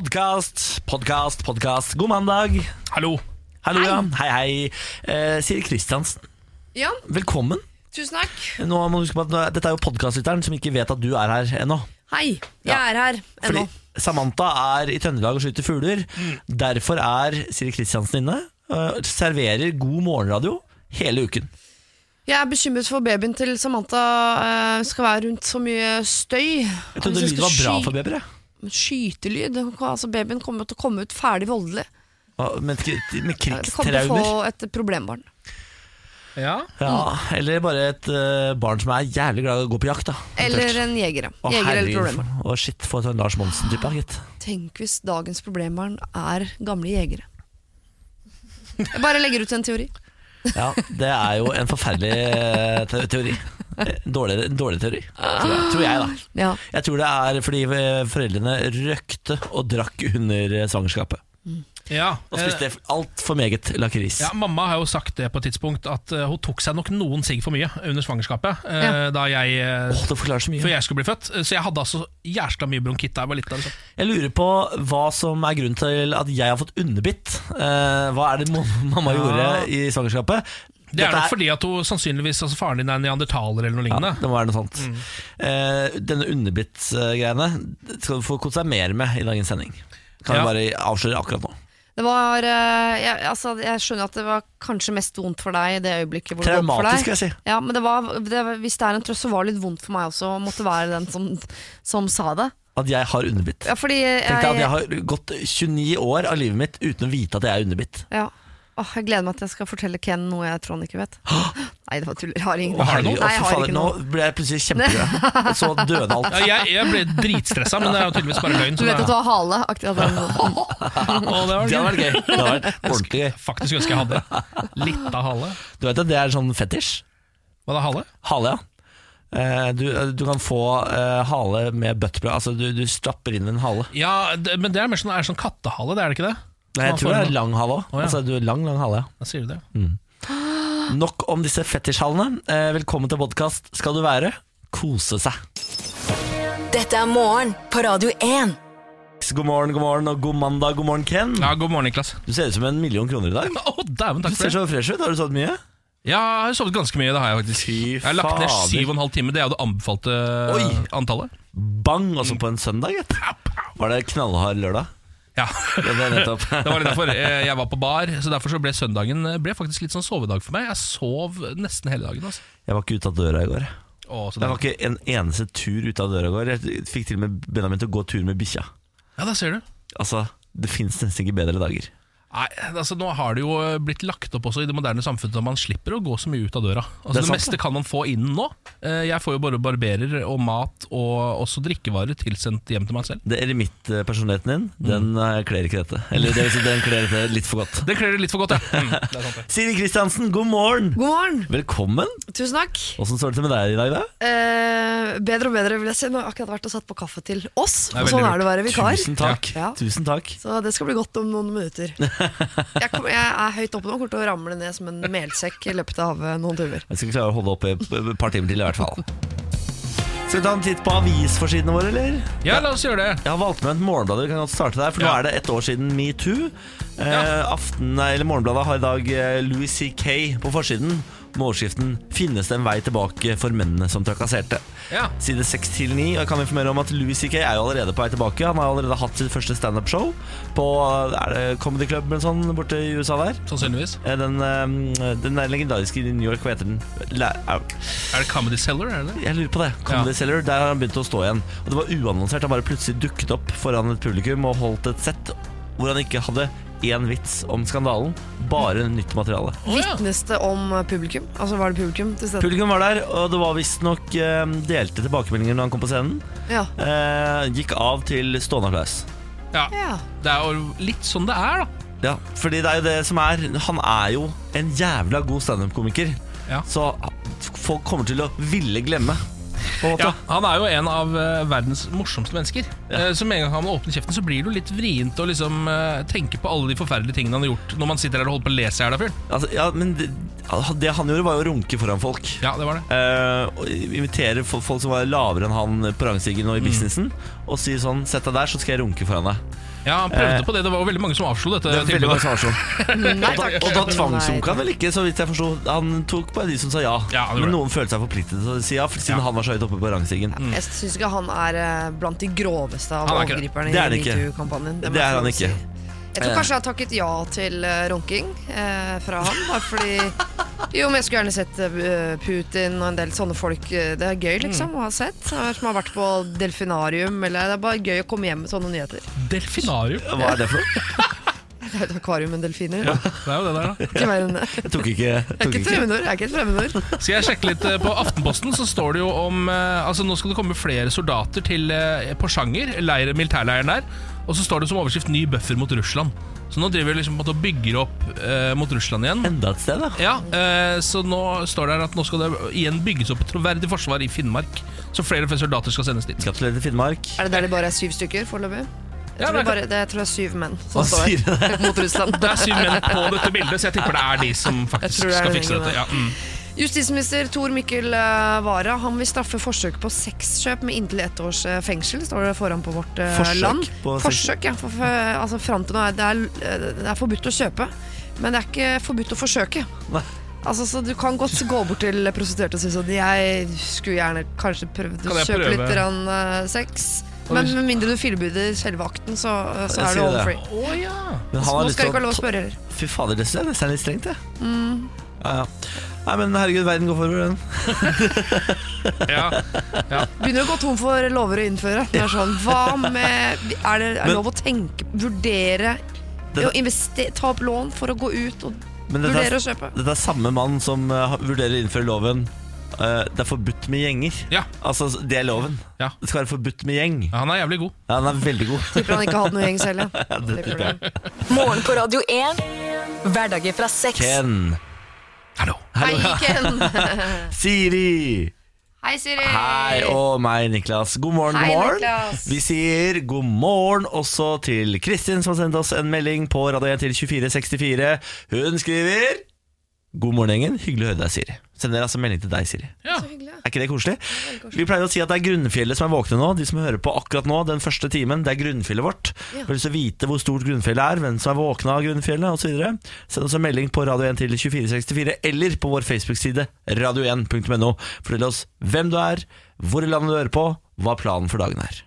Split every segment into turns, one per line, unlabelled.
Podkast, podkast, podkast. God mandag.
Hallo.
Hallo, ja. Hei, hei. Eh, Siri Kristiansen,
Ja,
velkommen.
tusen takk.
Nå må du huske på at nå, Dette er jo podkastlytteren som ikke vet at du er her ennå.
Hei, jeg
Ja.
er her
Fordi
ennå. Mm.
Samantha er i Trøndelag og skyter fugler. Derfor er Siri Kristiansen inne. eh, serverer god morgenradio hele uken.
Jeg er bekymret for babyen til Samantha eh, skal være rundt så mye støy.
Jeg trodde lyden var bra for babyer. jeg.
babyen. Skytelyd. Hun kan- Altså, babyen kommer til å komme ut ferdig voldelig.
Hva- Med, kri- med
Eh, Kommer til å
krigstraumer.
få et problembarn.
Ja.
Ja,
Mm.
eller bare et eh, barn som er jævlig glad i å gå på jakt. da
Eller en jeger. ja.
Å,
Jeger eller
herregud,
problembarn.
for- Å, shit, få et sånn Lars Monsen-type, gitt.
Tenk hvis dagens problembarn er gamle jegere. Jeg bare legger ut en teori.
Ja, det er jo en forferdelig eh, te- teori. Eh, Dårlig, en dårlig teori, tror jeg, tror jeg da.
Ja.
Jeg tror det er fordi eh, foreldrene røkte og drakk under eh, svangerskapet.
Ja. eh,
Og spiste altfor meget lakris.
Ja, Mamma har jo sagt det på et tidspunkt, at eh, hun tok seg nok noen sigg for mye under svangerskapet. eh,
Ja.
Da jeg eh,
Åh, det forklarer så
Før
mye.
jeg skulle bli født. Så jeg hadde altså jævla mye bronkitt da jeg var liten. Altså.
Jeg lurer på hva som er grunnen til at jeg har fått underbitt. Eh, hva er det mo- mamma gjorde i svangerskapet?
Det er
Dette
nok fordi at hun sannsynligvis altså, faren din er neandertaler eller noe
Ja,
lignende.
det må være noe sånt. Eh, denne underbitt-greiene skal du få konsumere med i dagens sending. Kan
Ja.
vi bare avsløre akkurat nå.
Det var eh, jeg, altså, jeg skjønner at det var kanskje mest vondt for deg i det øyeblikket. Hvor det går opp for deg.
Traumatisk, skal jeg si.
Ja, men det var, det, var- hvis det er en trøst, så var det litt vondt for meg også å måtte være den som, som sa det.
At jeg har underbitt.
Ja, fordi jeg,
Tenk deg at jeg har gått 29 år av livet mitt uten å vite at jeg er underbitt.
ja. Åh, jeg gleder meg til jeg skal fortelle Ken noe jeg tror han ikke vet. Nei, det var tuller. Jeg har ingen.
Har du noe?
Nei, jeg
Å, fy
har
fader,
ikke noe.
Nå ble jeg plutselig kjempeglad. Og så døde alt.
Ja, jeg, jeg ble dritstressa, men det er jo tydeligvis bare løgn.
Du vet at du
det,
har hale? Aktig, at han-
å, det var
Det hadde vært gøy. Det hadde vært ordentlig gøy.
Faktisk ønsker jeg hadde litt av hale.
Du vet at det er sånn fetisj?
Var det hale?
Hale, ja. Eh, Du, du kan få eh, hale med buttplug. Altså, du, du stapper inn en hale.
Ja, det, men det er mer sånn, er det sånn kattehale, det er det ikke det?
Nei, jeg tror det er lang hale òg.
Å, ja.
Altså, du er lang, lang hale. ja.
Da sier du det.
Nok om disse fetisjhalene. Eh, Velkommen til podkast skal du være. Kose seg.
Dette er morgen på Radio 1.
God morgen, god morgen og god mandag. God morgen, Ken.
Ja, God morgen, Niklas.
Du ser ut som en million kroner i dag.
Å, dæven,
Du
takk
ser
for det.
så fresh ut. Har du sovet mye?
Ja, jeg har sovet ganske mye, det har jeg faktisk.
Fy
Jeg har lagt ned
fader.
syv og en halv time, det er jo det anbefalte eh,
Oi.
antallet.
Bang, altså på en søndag. gitt. Var det knallhard lørdag?
Ja,
Ja, Det er nettopp.
Det var litt derfor eh, jeg var på bar, så derfor så ble søndagen eh, ble faktisk litt sånn sovedag for meg. Jeg sov nesten hele dagen. Altså.
Jeg var ikke ute av døra i går.
Å, så
Jeg var
deilig.
ikke en eneste tur ute av døra i går. Jeg fikk til og med Benjamin til å gå tur med bikkja.
Ja, der ser du.
Altså, det fins nesten ikke bedre dager.
Nei, altså Nå har det jo blitt lagt opp også i det moderne samfunnet at man slipper å gå så mye ut av døra. Altså
Det er
Det,
sant,
meste
det.
kan man få inn nå. Eh, Jeg får jo bare barberer og mat og også drikkevarer tilsendt hjem til meg selv.
Det Eremittpersonligheten din,
Mm.
den eh, kler ikke dette. Eller det vil si, den kler dette litt for godt.
Det kler det litt for godt, ja. Mm, det er sant, det.
Siri Kristiansen, god morgen!
God morgen!
Velkommen.
Tusen takk.
Åssen står det til med deg i dag, da?
Eh, bedre og bedre, vil jeg si. Nå har jeg akkurat vært og satt på kaffe til oss.
Det er
og sånn
veldig
er det å være vikar.
Tusen takk.
Ja.
Tusen takk.
Så det skal bli godt om noen minutter. Jeg, kom, jeg er høyt oppe nå, kommer til å ramle ned som en melsekk i løpet av eh, noen timer.
Jeg skal klare å holde oppe et par timer til, i hvert fall. Skal vi ta en titt på avisforsidene våre, eller?
Ja, la oss gjøre det.
Jeg har valgt med et Morgenbladet, vi kan godt starte der, for nå
Ja.
er det ett år siden metoo. Eh,
Ja.
aften, nei, eller Morgenbladet har i dag eh, Louis C.K. på forsiden med overskriften 'Finnes det en vei tilbake for mennene som trakasserte'.
Ja.
Side 6 til 9. Og jeg kan informere om at Louis C.K. er jo allerede på vei tilbake. Han har allerede hatt sitt første standup-show på er det Comedy Club eller sånn borte i USA der.
Sannsynligvis.
Eh, Den, eh, den er legendariske i New York, hva heter den? La, au.
Er det Comedy Cellar? Er det det?
Jeg lurer på det. Comedy Cellar, der har han begynt å stå igjen. Og Det var uannonsert. Han bare plutselig dukket opp foran et publikum og holdt et sett hvor han ikke hadde én vits om skandalen, bare nytt materiale.
Å, ja.
Vitnes det om eh, publikum? Altså var det publikum til stede?
Publikum var der, og det var visstnok eh, delte tilbakemeldinger når han kom på scenen.
ja.
Eh, gikk av til stående applaus.
ja.
ja.
Det er jo litt sånn det er, da.
Ja, fordi det er jo det som er Han er jo en jævla god standup-komiker.
Ja.
Så folk kommer til å ville glemme, på en måte.
Ja, han er jo en av eh, verdens morsomste mennesker. Eh, så med en gang han åpner kjeften, så blir det jo litt vrient å liksom, eh, tenke på alle de forferdelige tingene han har gjort, når man sitter her og holder på å lese i hjel av fyren.
Altså, ja, men det, det han gjorde, var jo å runke foran folk.
Ja, det var det.
Eh, og invitere fo-
Mm.
folk som var lavere enn han på rangstigen og i businessen, og si sånn 'Sett deg der, så skal jeg runke foran deg'.
Ja, han prøvde på det. Eh. Det var jo veldig mange som avslo dette.
Det er veldig
tilbudet.
mange som har sånn.
Nei
Og da,
takk.
og da
Nei,
tvangsrunka han vel ikke, så vidt jeg forsto. Han tok bare de som sa ja.
Ja, han gjorde
Men
det.
noen følte seg forpliktet til å si ja, for- siden
Ja.
han var så høyt oppe på rangstigen.
Jeg syns ikke han er eh, blant de groveste av
Han er ikke det.
overgriperne
Det er
i
det ikke.
metoo-kampanjen. må
Det
jeg
er
få
han
lov å
ikke. Eh.
Jeg tror kanskje jeg har takket ja til eh, runking eh, fra han. Bare fordi Jo, men jeg skulle gjerne sett eh, Putin og en del sånne folk. eh, Det er gøy
Mm.
liksom å ha sett. eh, Som har vært på delfinarium. Eller det er bare gøy å komme hjem med sånne nyheter.
Delfinarium.
Hva er det for noe?
Det er jo et akvarium med delfiner.
Ja, det er jo det der, da.
Ikke mer enn det.
Jeg tok ikke,
Det er
tok
ikke et
ikke.
fremmedord. Det er ikke et fremmedord.
Skal jeg sjekke litt eh, på Aftenposten, så står det jo om eh, Altså, nå skal det komme flere soldater til eh, Porsanger, leir, militærleiren der. Og så står det som overskrift 'ny buffer mot Russland'. Så nå driver vi liksom på en måte og bygger opp eh, mot Russland igjen.
Enda et sted, da.
Ja, eh, så nå står det her at nå skal det igjen bygges opp et troverdig forsvar i Finnmark. Så flere og flere soldater skal sendes dit.
Gratulerer til Finnmark.
Er det der det bare er syv stykker foreløpig? Jeg,
Ja,
tror
men
det
jeg
bare- det- jeg tror det sånn er syv menn som
Hva
står
sier
der mot Russland.
Det er syv menn på dette bildet, så jeg tipper det er de som faktisk
tror det er
skal
den
fikse
gjengen
dette.
der.
Ja, mm.
Justisminister Tor Mikkel eh, Wara Han vil straffe forsøk på sexkjøp med inntil ett års eh, fengsel, står det foran på vårt eh,
Forsøk
land.
på
forsøk, ja. For, for, altså, fram til nå er det, er eh, det er forbudt å kjøpe, men det er ikke forbudt å forsøke.
Nei.
Altså, så Du kan godt gå bort til prostituerte og si sånn Jeg skulle gjerne kanskje prøvd
Kan
å
jeg
kjøpe
prøve?
litt grann, eh, sex,
Og
men
hvis-
med mindre du filbuder selve akten, så, eh, så
Jeg
er du
sier
home
det.
free.
Å ja.
Men
Så
han har
nå
lyst til
skal jeg ikke ha
å
lov å Mm.
ta-
spørre heller.
Fy fader, det synes jeg nesten er litt strengt, det. Ja, ja. Nei, men herregud, verden går forover, den.
ja.
Begynner å gå tom for lover å innføre. Det er sånn, hva med Er det er
Men-
lov å tenke, vurdere
Det-
å investe- Ta opp lån for å gå ut og
Men dette er,
vurdere å kjøpe?
dette er samme mann som eh, har- vurderer å innføre loven eh, Det er forbudt med gjenger.
Ja.
Altså, det er loven.
Ja.
Det skal være forbudt med gjeng.
ja, han er jævlig god.
Ja, den er veldig god.
Tipper han ikke hadde noe gjeng selv, ja.
det
Tipper
tipper jeg.
det.
Morgen på Radio 1. Hverdager fra seks.
Ken,
Hallo.
Hei, Ken.
Siri,
Hei, Siri.
hei og meg, Niklas. God morgen,
Hei,
god morgen.
Niklas.
Vi sier god morgen også til Kristin, som har sendt oss en melding på Radio 1 til 2464. Hun skriver God morgen, gjengen. Hyggelig å høre deg, Siri. Sender altså melding til deg, Siri.
Ja.
Så hyggelig.
Er ikke det koselig? Vi pleier å si at det er grunnfjellet som er våkne nå. De som hører på akkurat nå, den første timen, det er grunnfjellet vårt.
Ja.
Har du lyst til å vite hvor stort grunnfjellet er, hvem som er våkna av grunnfjellet osv., send oss en melding på Radio 1 til 2464 eller på vår Facebook-side radio1.no. Fortell oss hvem du er, hvor i landet du hører på, hva planen for dagen er.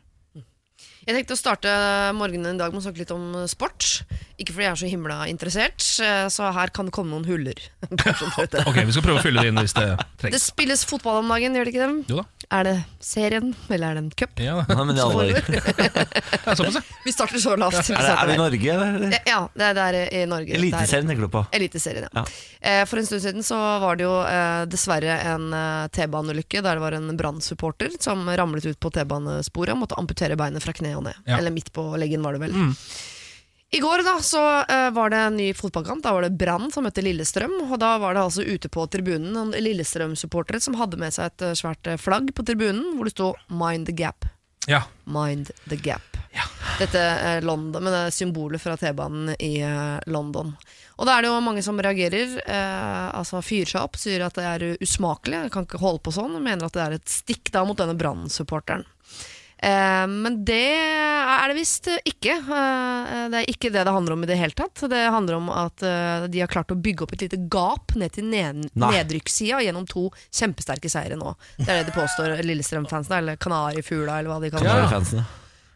Jeg tenkte å starte morgenen i dag med å snakke litt om sport. Ikke fordi jeg er så himla interessert, eh, så her kan det komme noen huller. Bare så dere vet det.
Ok, vi skal prøve å fylle det inn hvis det
Det
trengs.
spilles fotball om dagen, gjør det ikke det?
Jo da.
Er det serien, eller er det en cup?
Ja,
Nei, men i alle dager.
det er såpass, ja.
Vi starter så lavt. Vi
Er, det,
starter
er vi
der.
i Norge, eller?
Ja, Ja, det er der i Norge.
Eliteserien tenker du på.
Der- Eliteserien, ja.
Ja.
Eh, For en stund siden så var det jo eh, dessverre en eh, T-baneulykke der det var en brannsupporter som ramlet ut på T-banesporet og måtte amputere beinet fra kne og ned.
Ja.
Eller midt på leggen, var det vel. I går da, så eh, var det en ny fotballkamp. Da var det Brann som møtte Lillestrøm. Og da var det altså ute på tribunen noen Lillestrøm-supportere som hadde med seg et eh, svært eh, flagg på tribunen hvor det sto 'Mind the Gap'.
ja.
Mind the gap. Dette er London, men det er symbolet fra T-banen i eh, London. Og da er det jo mange som reagerer. Eh, altså Fyrer seg opp, sier at det er usmakelig, jeg kan ikke holde på sånn. og Mener at det er et stikk da mot denne Brann-supporteren. Eh, men det er det visst ikke. Eh, det er ikke det det handler om i det hele tatt. Det handler om at eh, de har klart å bygge opp et lite gap ned til ned
Nei.
nedrykkssida gjennom to kjempesterke seire nå. Det er det de påstår, Lillestrøm-fansen, eller Kanarifugla, eller hva de kaller det.
Ja. Fansen, ja.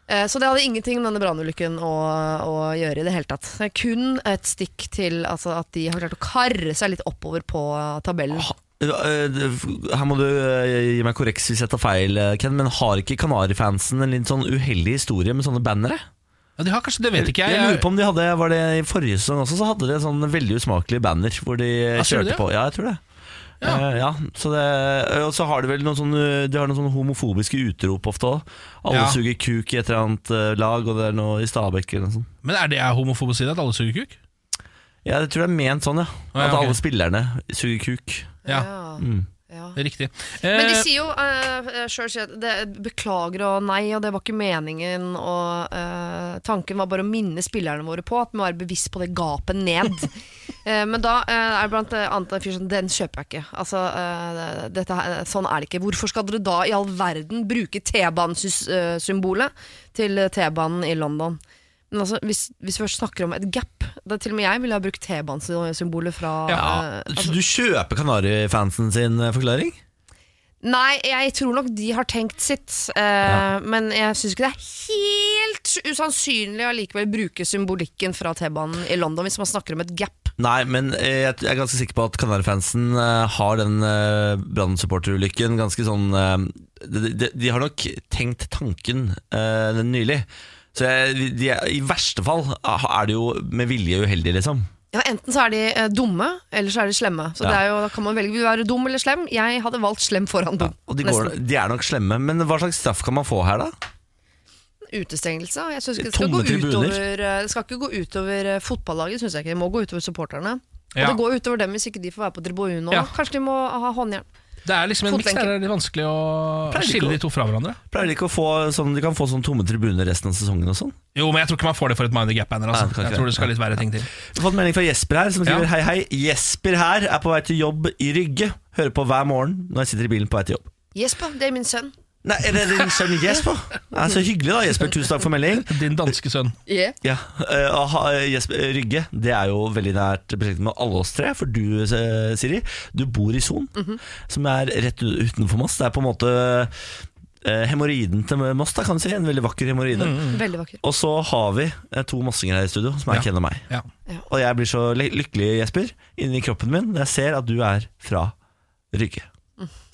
Eh, Så det hadde ingenting med denne brannulykken å, å gjøre i det hele tatt. Det er kun et stikk til altså, at de har klart å karre seg litt oppover på eh, tabellen.
Ha- eh, eh, Her må du eh, gi meg korreks hvis jeg tar feil, eh, Ken, men har ikke Kanarifansen en litt sånn uheldig historie med sånne bannere?
ja de har kanskje, det vet ikke jeg.
Jeg lurer på om de hadde Var det i forrige sesong også, så hadde de en sånn veldig usmakelig banner hvor de eh,
sier Ah, du
kjørte
det?
på. Ja, jeg tror det.
Ja.
Eh, ja, så det, eh, og så har de vel noen sånne, de har noen sånne homofobiske utrop ofte òg. Alle
Ja.
suger kuk i et eller annet eh, lag, og det er noe i Stabekk eller noe sånt.
Men er det homofob å si det, at alle suger kuk?
Ja, jeg tror det er ment sånn, ja.
Å, ja,
At
ok.
alle spillerne suger kuk.
Ja,
Ja. Ja.
det er riktig.
Men de
Eh,
sier jo uh, sjøl at det, beklager og nei, og det var ikke meningen. Og eh, tanken var bare å minne spillerne våre på at vi må være bevisst på det gapet ned. Eh, men da eh, er det blant annet en fyr som Den kjøper jeg ikke. Altså, eh, dette, her- sånn er det ikke. Hvorfor skal dere da i all verden bruke T-banesymbolet til T-banen i London? Men Men altså, hvis, hvis vi først snakker om et gap da Til og med jeg ville ha brukt T-banesymbolet fra eh, altså,
Så du kjøper Kanari-fansen sin eh, forklaring?
Nei, jeg tror nok de har tenkt sitt. eh, Men jeg syns ikke det er helt usannsynlig å likevel bruke symbolikken fra T-banen i London hvis man snakker om et gap.
Nei, men eh, jeg jeg er ganske sikker på at Kanari-fansen eh, har den eh, Brann-supporterulykken ganske sånn eh, de, de, de har nok tenkt tanken eh, den nylig. Så jeg, de- de, er- I verste fall ah, er det jo med vilje uheldig, liksom.
Ja, Enten så er de eh, dumme, eller så er de slemme. Så
Ja.
det er jo, Da kan man velge vil du være dum eller slem. Jeg hadde valgt slem foran dum.
Og de, går,
Nesten.
de er nok slemme. Men hva slags straff kan man få her, da?
Utestengelse. og Jeg synes ikke det, skal
Tomme
gå
tribuner.
utover, eh, det skal ikke gå utover eh, fotballaget, syns jeg ikke. Det må gå utover supporterne. Og
Ja.
det går utover dem hvis ikke de får være på tribunen. og
Ja.
Kanskje de må ha håndjern.
Det er liksom en miks
Fotlenke.
der det er litt vanskelig å
Pleier ikke
skille
å-
de to fra hverandre.
Pleier de ikke å få sånn, de kan få sånn tomme tribuner resten av sesongen og sånn?
Jo, men jeg tror ikke man får det for et minor gap-banner.
Nei, det
Altså.
kan ikke
Jeg tror det
det.
skal litt verre ting til.
Vi har fått melding fra Jesper her, som skriver
Ja.
hei, hei. Jesper her er på vei til jobb i Rygge. Hører på hver morgen når jeg sitter i bilen på vei til jobb.
Jesper, det er min sønn.
Nei, er det din sønn Jesper? Nei, så hyggelig da, Jesper. Tusen takk for melding.
Din danske sønn.
Yeah.
Ja, eh, og ha- Jesper eh, Rygge, det er jo veldig nært beslektet med alle oss tre, for du, eh, Siri, du bor i Son, som er rett u- utenfor Moss. Det er på en måte eh, hemoroiden til Moss, da, kan du si. En veldig vakker hemoroide.
Veldig vakker.
Og så har vi eh, to mossinger her i studio, som er
Ja.
Ken og meg.
Ja.
Og jeg blir så ly- lykkelig, Jesper, inni kroppen min når jeg ser at du er fra Rygge.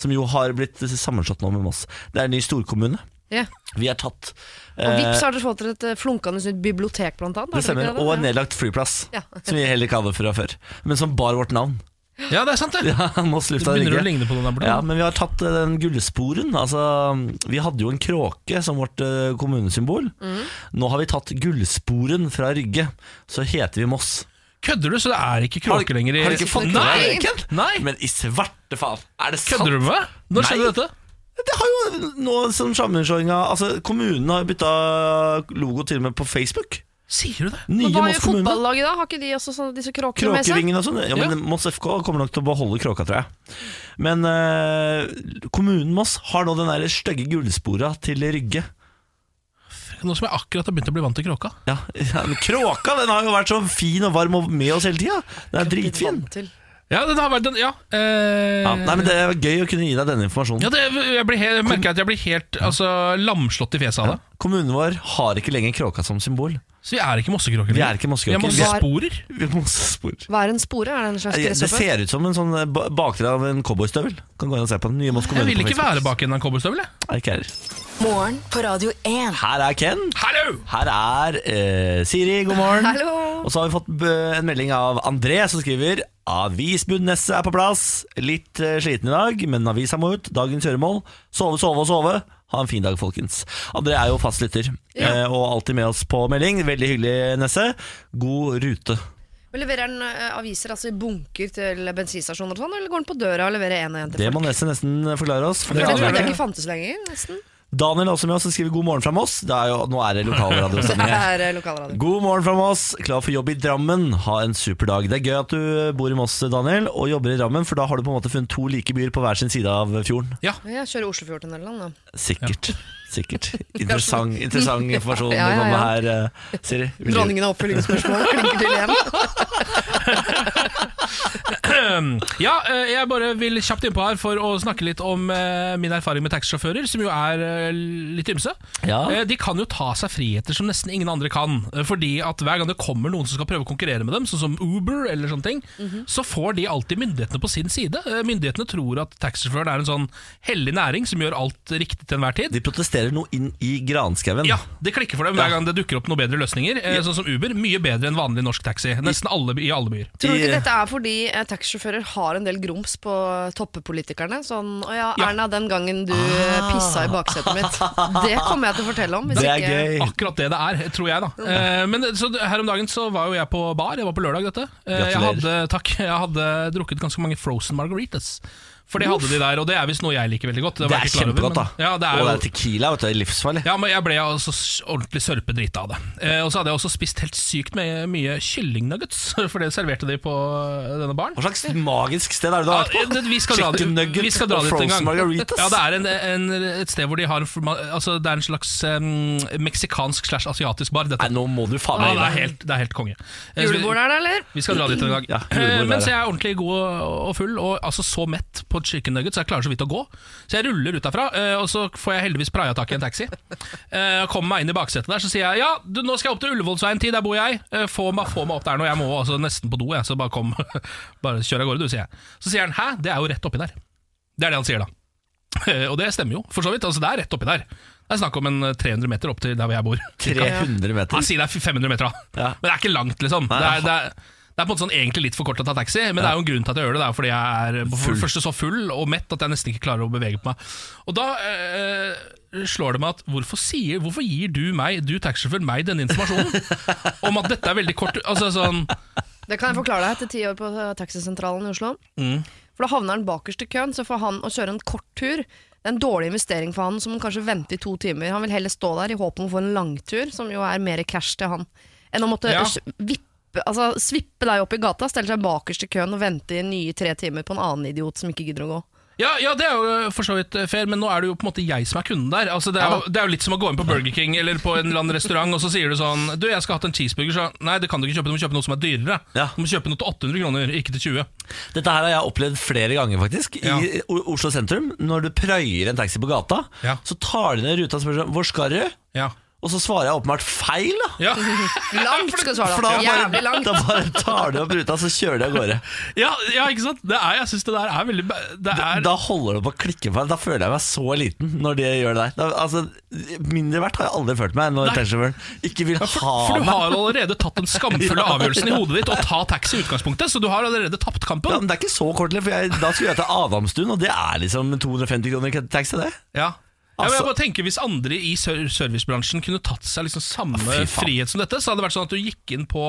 Som jo har blitt sammenslått nå med Moss. Det er en ny storkommune.
Ja.
Vi er tatt.
Og vips har dere fått dere et eh, flunkende nytt bibliotek, blant annet.
Det
har dere
stemmer,
ikke
og en
det?
nedlagt flyplass,
Ja.
som vi heller ikke hadde fra før. Men som bar vårt navn.
ja, det er sant, det.
Ja, Moss
Det
lufthavn
begynner å
Rygge.
ligne på noen der borte.
Ja, men vi har tatt eh, den gullsporen. Altså, vi hadde jo en kråke som vårt eh, kommunesymbol.
Mm.
Nå har vi tatt gullsporen fra Rygge, så heter vi Moss.
Kødder du, så det er ikke kråke lenger i
har du ikke fått med
Nei!
deg det?
Nei.
Men i svarte faen, er det sant?
Kødder du med meg? Når skjedde
Nei.
dette?
Det har jo nå som sammenslåinga Altså, kommunen har bytta logo til og med på Facebook.
Sier du det?
Nye
Men hva
Moss
gjør
kommune.
fotballaget da? Har ikke de også sånne, disse kråkene med seg?
Kråkevingen og sånn. Ja, men
Ja.
Moss FK kommer nok til å beholde kråka, tror jeg. Men eh, kommunen Moss har nå den der stygge gullspora til Rygge.
Nå som jeg akkurat har begynt å bli vant til kråka.
Ja, ja, men Kråka den har jo vært så fin og varm og med oss hele tida. Den er dritfin.
Vant til.
Ja, det har vært en Ja. Eh,
Ja, nei, men Det er gøy å kunne gi deg denne informasjonen.
ja det, jeg, blir helt, jeg merker at jeg blir helt altså, lamslått i fjeset av det.
Kommunen vår har ikke lenger kråka som symbol.
Så vi er ikke mossekråker
Vi er ikke mossekråker.
Vi er mossesporer.
Vi er Mossespor.
Hva er en spore? Er det en slags
Det
gresshopper?
ser ut som en sånn ba- bakdel av en cowboystøvel. Kan gå inn og se på den nye Moss kommune.
Jeg vil
på
ikke
Facebook.
være bak en cowboystøvel, jeg.
Nei, ikke heller.
Morgen på Radio 1.
Her er Ken.
Hallo!
Her er eh, Siri, god morgen.
Hallo!
Og så har vi fått eh, en melding av André som skriver Avisbunnesset er på plass. Litt eh, sliten i dag, men avisa må ut. Dagens gjøremål. Sove, sove og sove. Ha en fin dag, folkens. André er jo fast lytter eh, og alltid med oss på melding. Veldig hyggelig, Nesse. God rute.
Men Leverer den eh, aviser altså i bunker til bensinstasjoner og sånn, eller går den på døra og leverer én og én til
Det
folk?
må Nesse nesten forklare oss. for
For
det
det
aner jeg
trodde
ikke.
jeg ikke fantes lenger, nesten.
Daniel er også med oss og skriver god morgen fra Moss. Det er jo, nå er det
Det
lokalradiosending her.
er eh, lokalradio.
God morgen fra Moss, klar for jobb i Drammen. Ha en super dag. Det er gøy at du bor i Moss, Daniel, og jobber i Drammen, for da har du på en måte funnet to like byer på hver sin side av fjorden.
Jeg kjører Oslofjordtunnelen, da.
Sikkert. Sikkert. Interessant, interessant informasjon
Ja, ja, ja.
du kommer med her, eh, Siri. Vil du-
Dronningen av oppfølgingsspørsmål klinker til igjen.
Ja, eh, jeg bare vil kjapt innpå her for å snakke litt om eh, min erfaring med taxisjåfører, som jo er eh, litt ymse.
Ja.
Eh, De kan jo ta seg friheter som nesten ingen andre kan. eh, Fordi at hver gang det kommer noen som skal prøve å konkurrere med dem, sånn som Uber, eller sånne ting, så får de alltid myndighetene på sin side. Eh, Myndighetene tror at taxisjåføren er en sånn hellig næring som gjør alt riktig til enhver tid.
De protesterer nå inn i granskauen.
Ja, det klikker for dem hver gang det dukker opp noen bedre løsninger. eh, Sånn som Uber. Mye bedre enn vanlig norsk taxi. Nesten alle, by- i alle byer.
Tror du
I-
ikke dette er fordi eh, taxisjåfører har en del grums på toppepolitikerne? Sånn 'Å ja,
Ja.
Erna, den gangen du eh, pissa i baksetet mitt'. Det kommer jeg til å fortelle om. Hvis
Ah. Det er
ikke
gøy.
Akkurat Ah, det det er, tror jeg da. Eh, men så d- her om dagen så var jo jeg på bar, jeg var på lørdag dette. Eh, jeg
Gratulerer.
hadde, takk, jeg hadde drukket ganske mange frozen margaritas. For det hadde de der, og det er visst noe jeg liker veldig godt.
Det
var
er
jeg ikke klar over,
kjempegodt, da.
men- Ja, det er
og
jo
det er tequila. vet du, det er livsfarlig.
ja, men jeg ble altså s- ordentlig sørpedrita av det. Eh, og så hadde jeg også spist helt sykt med, mye kyllingnuggets, for det serverte de på eh, denne baren.
Hva slags magisk sted er det du
Ja,
har vært
det-
på?
vi skal dra dit,
Chicken nugget
vi skal dra
og
dit en
frozen
gang.
margaritas.
Ja, det er en, en, et sted hvor de har forma- altså, Det er en slags eh, meksikansk slash asiatisk bar.
Nei,
Dette.
nå må du faen
Ja,
meg
det,
gi
er
deg.
helt, det er helt konge. Eh, så vi-
Julebord er det, eller?
vi skal dra dit en gang.
Ja,
Eh,
julebord
Men
der,
så
ja.
jeg er ordentlig god og og full, og altså så mett på chicken nuggets, så jeg klarer så vidt å gå. Så jeg ruller ut derfra, eh, og så får jeg heldigvis praia tak i en taxi. Eh, Kommer meg inn i baksetet der, så sier jeg ja, du, nå skal jeg opp til Ullevålsveien 10, der bor jeg. Eh, Få meg, få meg opp der nå, jeg må altså nesten på do, jeg, så bare kom. Bare kjør av gårde, du, sier jeg. Så sier han hæ, det er jo rett oppi der. Det er det han sier da. Eh, Og det stemmer jo, for så vidt. Altså, det er rett oppi der. Det er snakk om en eh, 300 meter opp til der hvor jeg bor.
300
Ja,
meter.
si det er 500 meter, da.
Ja.
Men det er ikke langt, liksom.
Nei,
det, er, det, er, det er på en måte sånn egentlig litt for kort til å ta taxi, men det er jo en grunn til at jeg gjør det. Det er fordi jeg er for det første så full og mett at jeg nesten ikke klarer å bevege på meg. Og da eh, slår det meg at hvorfor, sier, hvorfor gir du meg, du taxisjåfør, meg denne informasjonen om at dette er veldig kort Altså sånn
Det kan jeg forklare deg etter ti år på eh, taxisentralen i Oslo. For da havner han bakerst i køen, så får han å kjøre en kort tur. Det er en dårlig investering for han, som han kanskje venter i to timer. Han vil heller stå der i håp om å få en langtur, som jo er mer cash til han, enn å måtte
Ja.
s- vippe, altså, svippe deg opp i gata, stelle seg bakerst i køen og vente i nye tre timer på en annen idiot som ikke gidder å gå.
Ja, ja, det er jo for så vidt eh, fair, men nå er det jo på en måte jeg som er kunden der. Altså, det, er
Ja
jo, det er jo litt som å gå inn på Burger King eller på en eller annen restaurant, og så sier du sånn Du, jeg skal ha hatt en cheeseburger, så Nei, det kan du ikke kjøpe, du må kjøpe noe som er dyrere.
Ja.
Du må kjøpe noe til 800 kroner, ikke til 20.
Dette her har jeg opplevd flere ganger faktisk
Ja.
i O- Oslo sentrum. Når du prøyer en taxi på gata,
Ja.
så tar de ned ruta og spør sånn, hvor skal du?
Ja.
Og så svarer jeg åpenbart feil. da
Ja.
Langt skal du
For
svare,
da
da. Jævlig
bare,
langt.
da bare tar de opp ruta, så kjører de av gårde.
ja, ja, ikke sant? Det er, jeg syns det der er veldig ba- Det er
Da holder det på å klikke for meg. Da føler jeg meg så liten når de gjør det der. Da, altså, mindre verdt har jeg aldri følt meg når
Nei.
taxisjåføren ikke vil
for,
ha
for du
meg.
har allerede tatt den skamfulle
Ja.
avgjørelsen i hodet ditt å ta taxi i utgangspunktet, så du har allerede tapt
Ja,
kampen.
men Det er ikke så kort, for jeg, da skulle jeg til Adamstuen, og det er liksom 250 kroner i taxi, det.
Ja. Ja, men jeg
Altså-
bare tenker Hvis andre i ser- servicebransjen kunne tatt seg liksom samme
Fy faen.
frihet som dette, så hadde det vært sånn at du gikk inn på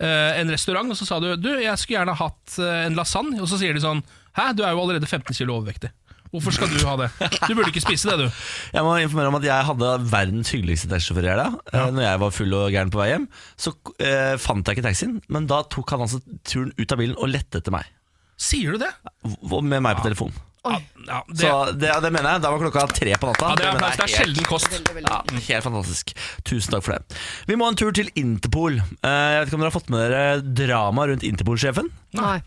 eh, en restaurant og så sa du Du, jeg skulle gjerne hatt eh, en lasagne, og så sier de sånn Hæ, du er jo allerede 15 kilo overvektig. Hvorfor skal du ha det? Du burde ikke spise det, du.
Jeg må informere om at jeg hadde verdens hyggeligste taxisjåfør i helga. Ja. Når jeg var full og gæren på vei hjem, så eh, fant jeg ikke taxien. Men da tok han altså turen ut av bilen og lette etter meg.
Sier du det?
V- Med meg på telefon.
Ja, ja, det,
Så det, det mener jeg. Da var klokka tre på natta.
ja, det, er,
mener jeg
applaus. det er
helt-
sjelden kost.
Ja, helt fantastisk. Tusen takk for det. Vi må ha en tur til Interpol. Eh, Jeg vet ikke om dere har fått med dere dramaet rundt Interpol-sjefen?
Nei.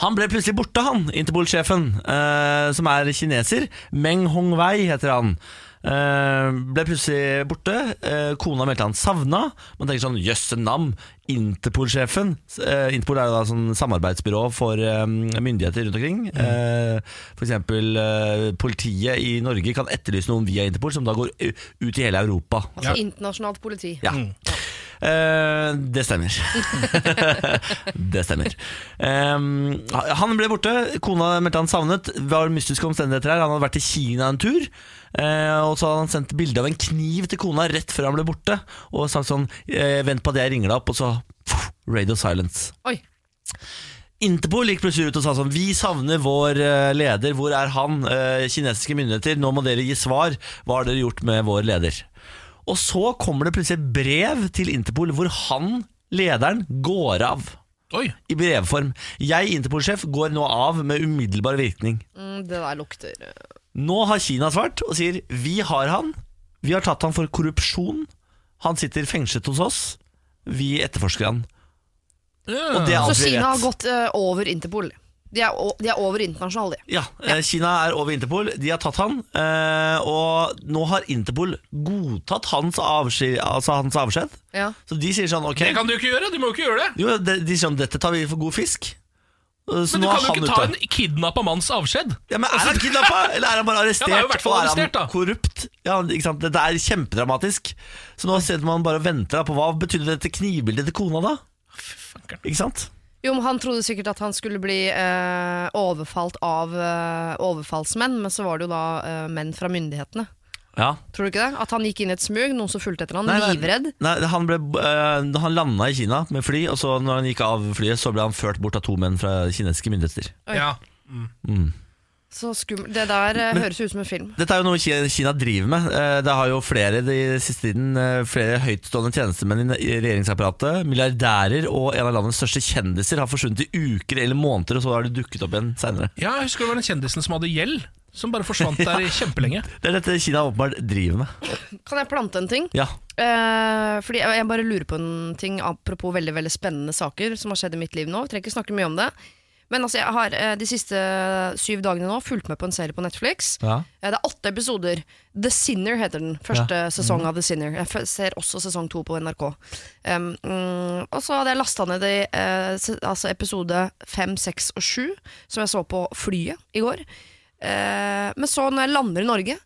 Han ble plutselig borte, han, Interpol-sjefen, eh, som er kineser. Meng Hongwei heter han. Eh, ble plutselig borte. Eh, kona meldte han savna. Man tenker sånn jøsse navn. Interpol-sjefen. Eh, Interpol er jo da sånn samarbeidsbyrå for eh, myndigheter rundt omkring. Eh, for eksempel eh, politiet i Norge kan etterlyse noen via Interpol, som da går u- ut i hele Europa.
Altså internasjonalt politi.
Ja. Eh, det stemmer. det stemmer. Ehm, han ble borte, kona meldte han savnet. Det var mystiske omstendigheter her. Han hadde vært i Kina en tur. eh, og så hadde han sendt bilde av en kniv til kona rett før han ble borte. Og sagt sånn eh, 'Vent på at jeg ringer deg opp', og så pff, Radio Silence.
Oi.
Interpol gikk plutselig ut og sa sånn Vi savner vår eh, leder, hvor er han? Eh, Kinesiske myndigheter, nå må dere gi svar Hva har dere gjort med vår leder? Og så kommer det plutselig et brev til Interpol Hvor han, lederen, går av
Oi,
I brevform Jeg, Interpol-sjef, går nå av med umiddelbar virkning
Mm, Det der lukter eh,
Nå har Kina svart og sier Vi har han, vi har tatt han for korrupsjon Han sitter fengslet hos oss Vi etterforsker han Og det er alt
Så
vi vet.
Kina har gått eh, over Interpol. De er, o- de er over internasjonale, de.
Ja, eh, Kina er over Interpol. De har tatt han. eh, Og nå har Interpol godtatt hans avskjed. Altså hans avskjed.
Ja.
Så de sier sånn ok
det kan du jo ikke gjøre. Du må jo ikke gjøre det.
Jo, de, de sier sånn, dette tar vi for god fisk. Eh, Så
Men du
nå
kan
er
jo
han
ikke
ute.
ta en kidnappa manns avskjed.
Ja, men Er han kidnappa, eller er han bare arrestert?
Ja, han er jo i hvert fall
og er
arrestert, da.
han korrupt? Ja, ikke sant? Dette er kjempedramatisk. Så nå sitter man bare og venter da på hva betydde dette knivbildet til kona, da? Ikke sant?
Jo, men Han trodde sikkert at han skulle bli eh, overfalt av eh, overfallsmenn, men så var det jo da eh, menn fra myndighetene.
Ja.
Tror du ikke det? At han gikk inn i et smug, noen som fulgte etter han,
Nei, nei.
livredd.
Nei, han, ble, eh, han landa i Kina med fly, og så når han gikk av flyet, så ble han ført bort av to menn fra kinesiske myndigheter.
Oi.
Ja.
Så skummelt. Det der eh, høres ut som en film.
Dette er jo noe Ki- Kina driver med. Eh, Det har jo flere de siste tiden eh, Flere høytstående tjenestemenn i regjeringsapparatet, milliardærer og en av landets største kjendiser har forsvunnet i uker eller måneder, og så har de dukket opp igjen seinere.
Ja, jeg husker det var den kjendisen som hadde gjeld, som bare forsvant der i kjempelenge.
Det er dette Kina åpenbart driver med.
Kan jeg plante en ting?
Ja,
Eh, fordi jeg, jeg bare lurer på en ting apropos veldig veldig spennende saker som har skjedd i mitt liv nå. Vi trenger ikke snakke mye om det. Men altså, jeg har eh, de siste syv dagene nå fulgt med på en serie på Netflix.
ja.
Eh, det er åtte episoder. The Sinner heter den. Første
Mm.
sesong av The Sinner. Jeg f ser også sesong to på NRK. Um, mm, og så hadde jeg lasta ned i, eh, se- altså episode fem, seks og sju, som jeg så på flyet i går. Eh, men så, når jeg lander i Norge,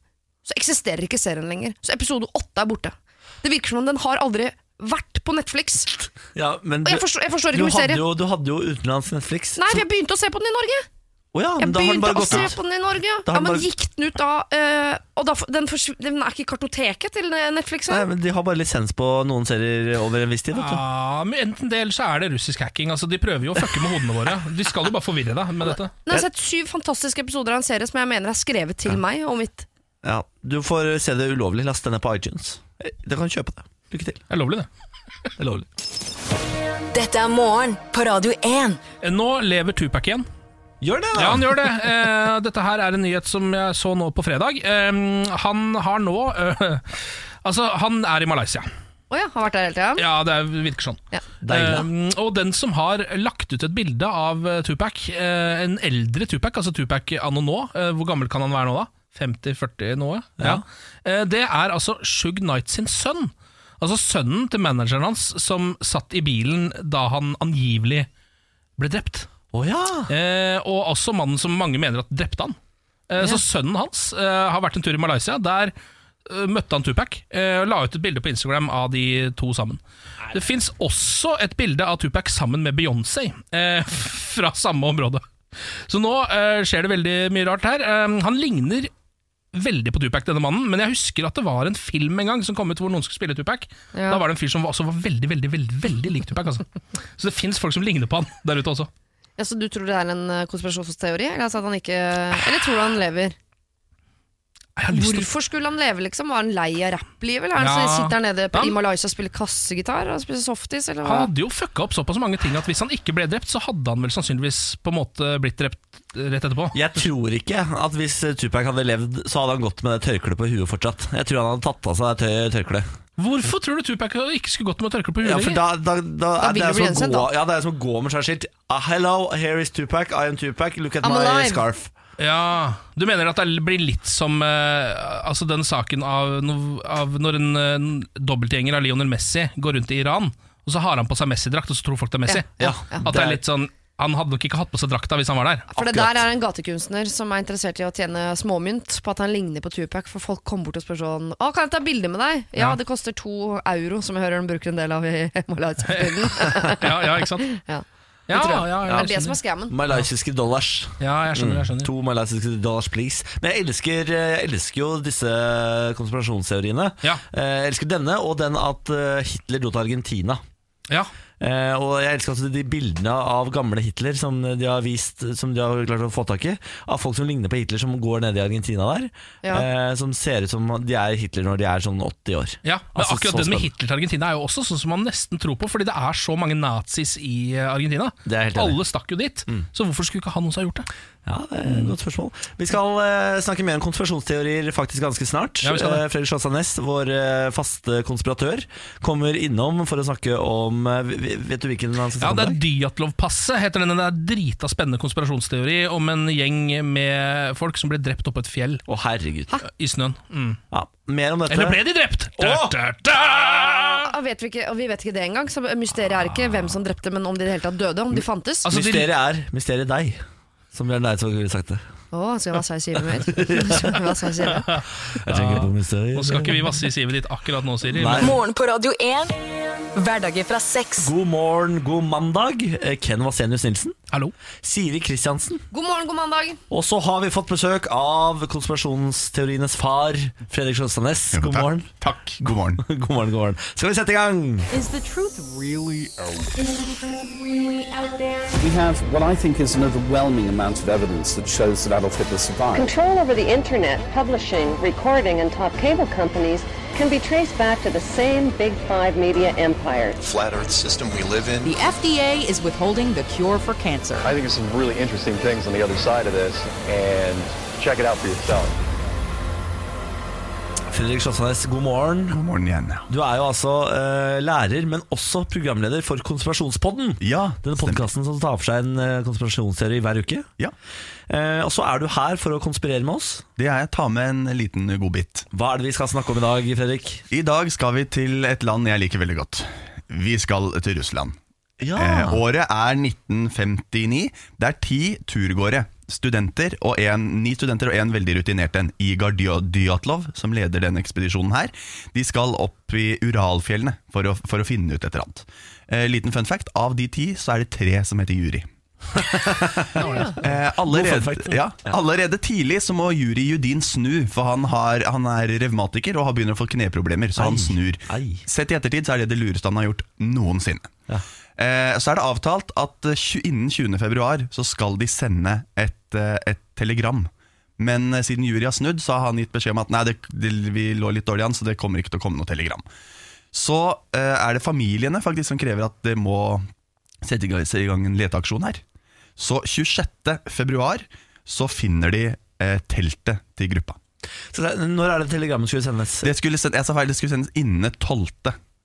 så eksisterer ikke serien lenger. Så episode åtte er borte. Det virker som om den har aldri vært på Netflix.
ja men
Og
du,
jeg forstår, jeg forstår
du,
ikke hvor
hadde
serien
jo, du hadde jo utenlands Netflix.
Nei,
så-
for jeg begynte å se på den i Norge!
Å ja, men
Jeg
da har den
begynte
bare
å
gått
se
ut.
på den i Norge.
Da
Ja,
har den
men
bare-
gikk den ut da eh, Og da, f- den, forsv- den er ikke i kartoteket til eh, Netflix?
Nei,
Her.
men De har bare lisens på noen serier over en viss tid. Vet du.
Ja, Ah, men Enten det, eller så er det russisk hacking. Altså, De prøver jo å fucke med hodene våre. De skal jo bare forvirre deg med dette.
Nå har jeg sett syv fantastiske episoder av en serie som jeg mener er skrevet til meg og mitt
Ja, du får se det ulovlig. Last den ned på iTunes. Eh, Da kan du kjøpe det. Lykke til.
Det er lovlig, det.
Det er lovlig.
Dette er morgen på Radio 1.
Eh, Nå lever Tupac igjen.
Gjør det, da!
Ja, han gjør det. Eh, dette her er en nyhet som jeg så nå på fredag. Eh, han har nå eh, Altså, han er i Malaysia.
Å ja, har vært der hele tida?
Ja, det er- virker sånn.
Ja.
Deilig.
Eh, og den som har lagt ut et bilde av eh, Tupac, eh, en eldre Tupac, altså Tupac anno nå, eh, hvor gammel kan han være nå da? 50-40 noe? Ja. Eh, det er altså Shug Knight sin sønn. Altså sønnen til manageren hans som satt i bilen da han angivelig ble drept.
Å ja!
Eh, og også mannen som mange mener at drepte han. Eh, Så sønnen hans eh, har vært en tur i Malaysia. Der eh, møtte han Tupac eh, og la ut et bilde på Instagram av de to sammen. Det fins også et bilde av Tupac sammen med Beyoncé eh, fra samme område. Så nå eh, skjer det veldig mye rart her. Eh, han ligner veldig på Tupac, denne mannen, men jeg husker at det var en film en gang som kom ut hvor noen skulle spille Tupac.
Ja.
Da var det en fyr som var- også var veldig, veldig, veldig, veldig lik Tupac. Altså. Så det fins folk som ligner på han der ute også.
Ja, så du tror det er en eh, konspirasjonsteori? Eller, altså at han ikke,
Ah.
eller tror du han lever?
Jeg har lyst til å
Hvorfor skulle han leve, liksom? Var han lei av rapplivet? Eller er han
Ja.
så- sitter han nede på-
Han-
i Malaysia og spiller kassegitar og spiller softis? Eller hva?
Han hadde jo fucka opp såpass mange ting at hvis han ikke ble drept, så hadde han vel sannsynligvis på en måte blitt drept rett etterpå.
Jeg tror ikke at hvis Tupac hadde levd, så hadde han gått med det tørkleet på huet fortsatt. Jeg tror han hadde tatt av seg det tøy- tørkleet.
Hvorfor tror du Tupac ikke skulle gått med tørkle på huet
Ja, for
lenger?
da, da, da,
Da
det
vil
er
du
som
bli
å
gjensendt,
gå,
da.
ja, det er som å gå med seg skilt. Ah, hello, here is Tupac. I am Tupac. Look at
I'm
my
alive.
scarf.
Ja, Du mener at det blir litt som eh, altså den saken av, no- av når en eh, dobbeltgjenger av Lionel Messi går rundt i Iran, og så har han på seg Messi-drakt, og så tror folk det er Messi?
Ja, ja.
At det er litt sånn Han hadde nok ikke hatt på seg drakta hvis han var der.
For det
Akkurat.
der er en gatekunstner som er interessert i å tjene småmynt på at han ligner på Tupac. For folk kommer bort og spør sånn Å, kan jeg ta bilde med deg? Ja,
Ja.
det koster to euro, som jeg hører de bruker en del av i Malaysia-filmen.
Ja, ja, ikke sant?
ja.
Ja,
tror
ja,
jeg.
jeg
Det er det som
skjønner.
er skammen.
Malaysiske dollars.
ja, jeg skjønner. Jeg skjønner.
To malaysiske dollars, please. Men jeg elsker, jeg elsker jo disse konspirasjonsteoriene.
Ja.
Eh, Jeg elsker denne, og den at eh, Hitler dro til Argentina.
Ja,
Eh, og jeg elsker også de bildene av gamle Hitler som de har vist Som de har klart å få tak i. Av folk som ligner på Hitler, som går ned i Argentina der.
Ja.
Eh, som ser ut som de er Hitler når de er sånn 80 år.
Ja, men
Altså, så
akkurat den med
spennende.
Hitler til Argentina er jo også sånn som man nesten tror på, fordi det er så mange nazis i eh, Argentina.
Det er helt enig. Mm.
Alle stakk jo dit, så hvorfor skulle ikke han også ha gjort det?
Ja, det er et Godt spørsmål. Vi skal eh, snakke mer om konspirasjonsteorier faktisk ganske snart.
Ja, vi skal det.
Eh, Fredrik Sjåstad Næss, vår eh, faste konspiratør, kommer innom for å snakke om eh, vi- vi- Vet du hvilken han skal
Ja,
snakke om?
Det
i
er
dag?
Dyatlovpasset, heter den. Det er drita spennende konspirasjonsteori om en gjeng med folk som ble drept oppå et fjell
Å, herregud.
i snøen. Mm.
Ja, mer om dette.
Eller ble de drept?
Åh!
Da, da, da!
Ja, vet vi, ikke, og vi vet ikke det engang, så mysteriet er ikke hvem som drepte, men om de i det hele tatt døde. Om de fantes. Å,
Altså, de-
Mysteriet er mysteriet deg, som Bjørn Eidsvåg ville sagt det.
skal jeg vasse i sivet mitt? Skal jeg vasse i sivet?
Jeg tenker på mysteriet.
Nå skal ikke vi vasse i sivet ditt akkurat nå, Siri.
Nei.
Men
Morgen på Radio 1. Hverdager fra seks.
God morgen, god mandag. Eh, Ken Vasenius Nilsen.
Hallo.
Siri Kristiansen.
God morgen, god mandag.
Og så har vi fått besøk av konspirasjonsteorienes far, Fredrik Sjøstadnes. God
takk.
morgen.
Takk. God morgen.
God morgen, god morgen. Skal vi sette i gang?
We have what I think is an overwhelming amount of evidence that shows that Adolf Hitler survived.
Control over the internet, publishing, recording, and top cable companies can be traced back to the same Big Five media empire.
flat earth system we live in.
The FDA is withholding the cure for cancer.
I think there's some really interesting things on the other side of this, and check it out for yourself.
Fredrik Sjøstadnes, god morgen.
God morgen igjen.
Du er jo altså eh, lærer, men også programleder for Konspirasjonspodden.
Ja,
Denne
stemmer.
podkasten som tar for seg en eh, konspirasjonsteori hver uke.
Ja,
Eh, og så er du her for å konspirere med oss.
det er jeg. Ta med en liten godbit.
Hva er det vi skal snakke om i dag, Fredrik?
I dag skal vi til et land jeg liker veldig godt. Vi skal til Russland. Eh, året er 1959. Det er ti turgåere. Studenter og en, Ni studenter og en veldig rutinert en, Igor Dy- Dyatlov, som leder denne ekspedisjonen her. De skal opp i Uralfjellene for å, for å finne ut et eller annet. Eh, liten fun fact, av de ti så er det tre som heter Juri. Eh,
God fun
allerede,
fact.
ja, allerede tidlig så må Juri Judin snu, for han, har, han er revmatiker og har begynner å få kneproblemer, så han snur.
Ei.
Sett i ettertid så er det det lureste han har gjort noensinne. Eh, så er det avtalt at eh, tju- innen 20. februar så skal de sende et, eh, et telegram. Men eh, siden Juri har snudd, så har han gitt beskjed om at nei, det, det, vi lå litt dårlig an, så det kommer ikke til å komme noe telegram. Så eh, er det familiene faktisk som krever at det må sette i gang- se i gang en leteaksjon her. Så 26. februar så finner de eh, teltet til gruppa.
Så det, er- når er det telegrammet skulle sendes?
Det skulle, send, jeg sa feil, det skulle sendes innen 12.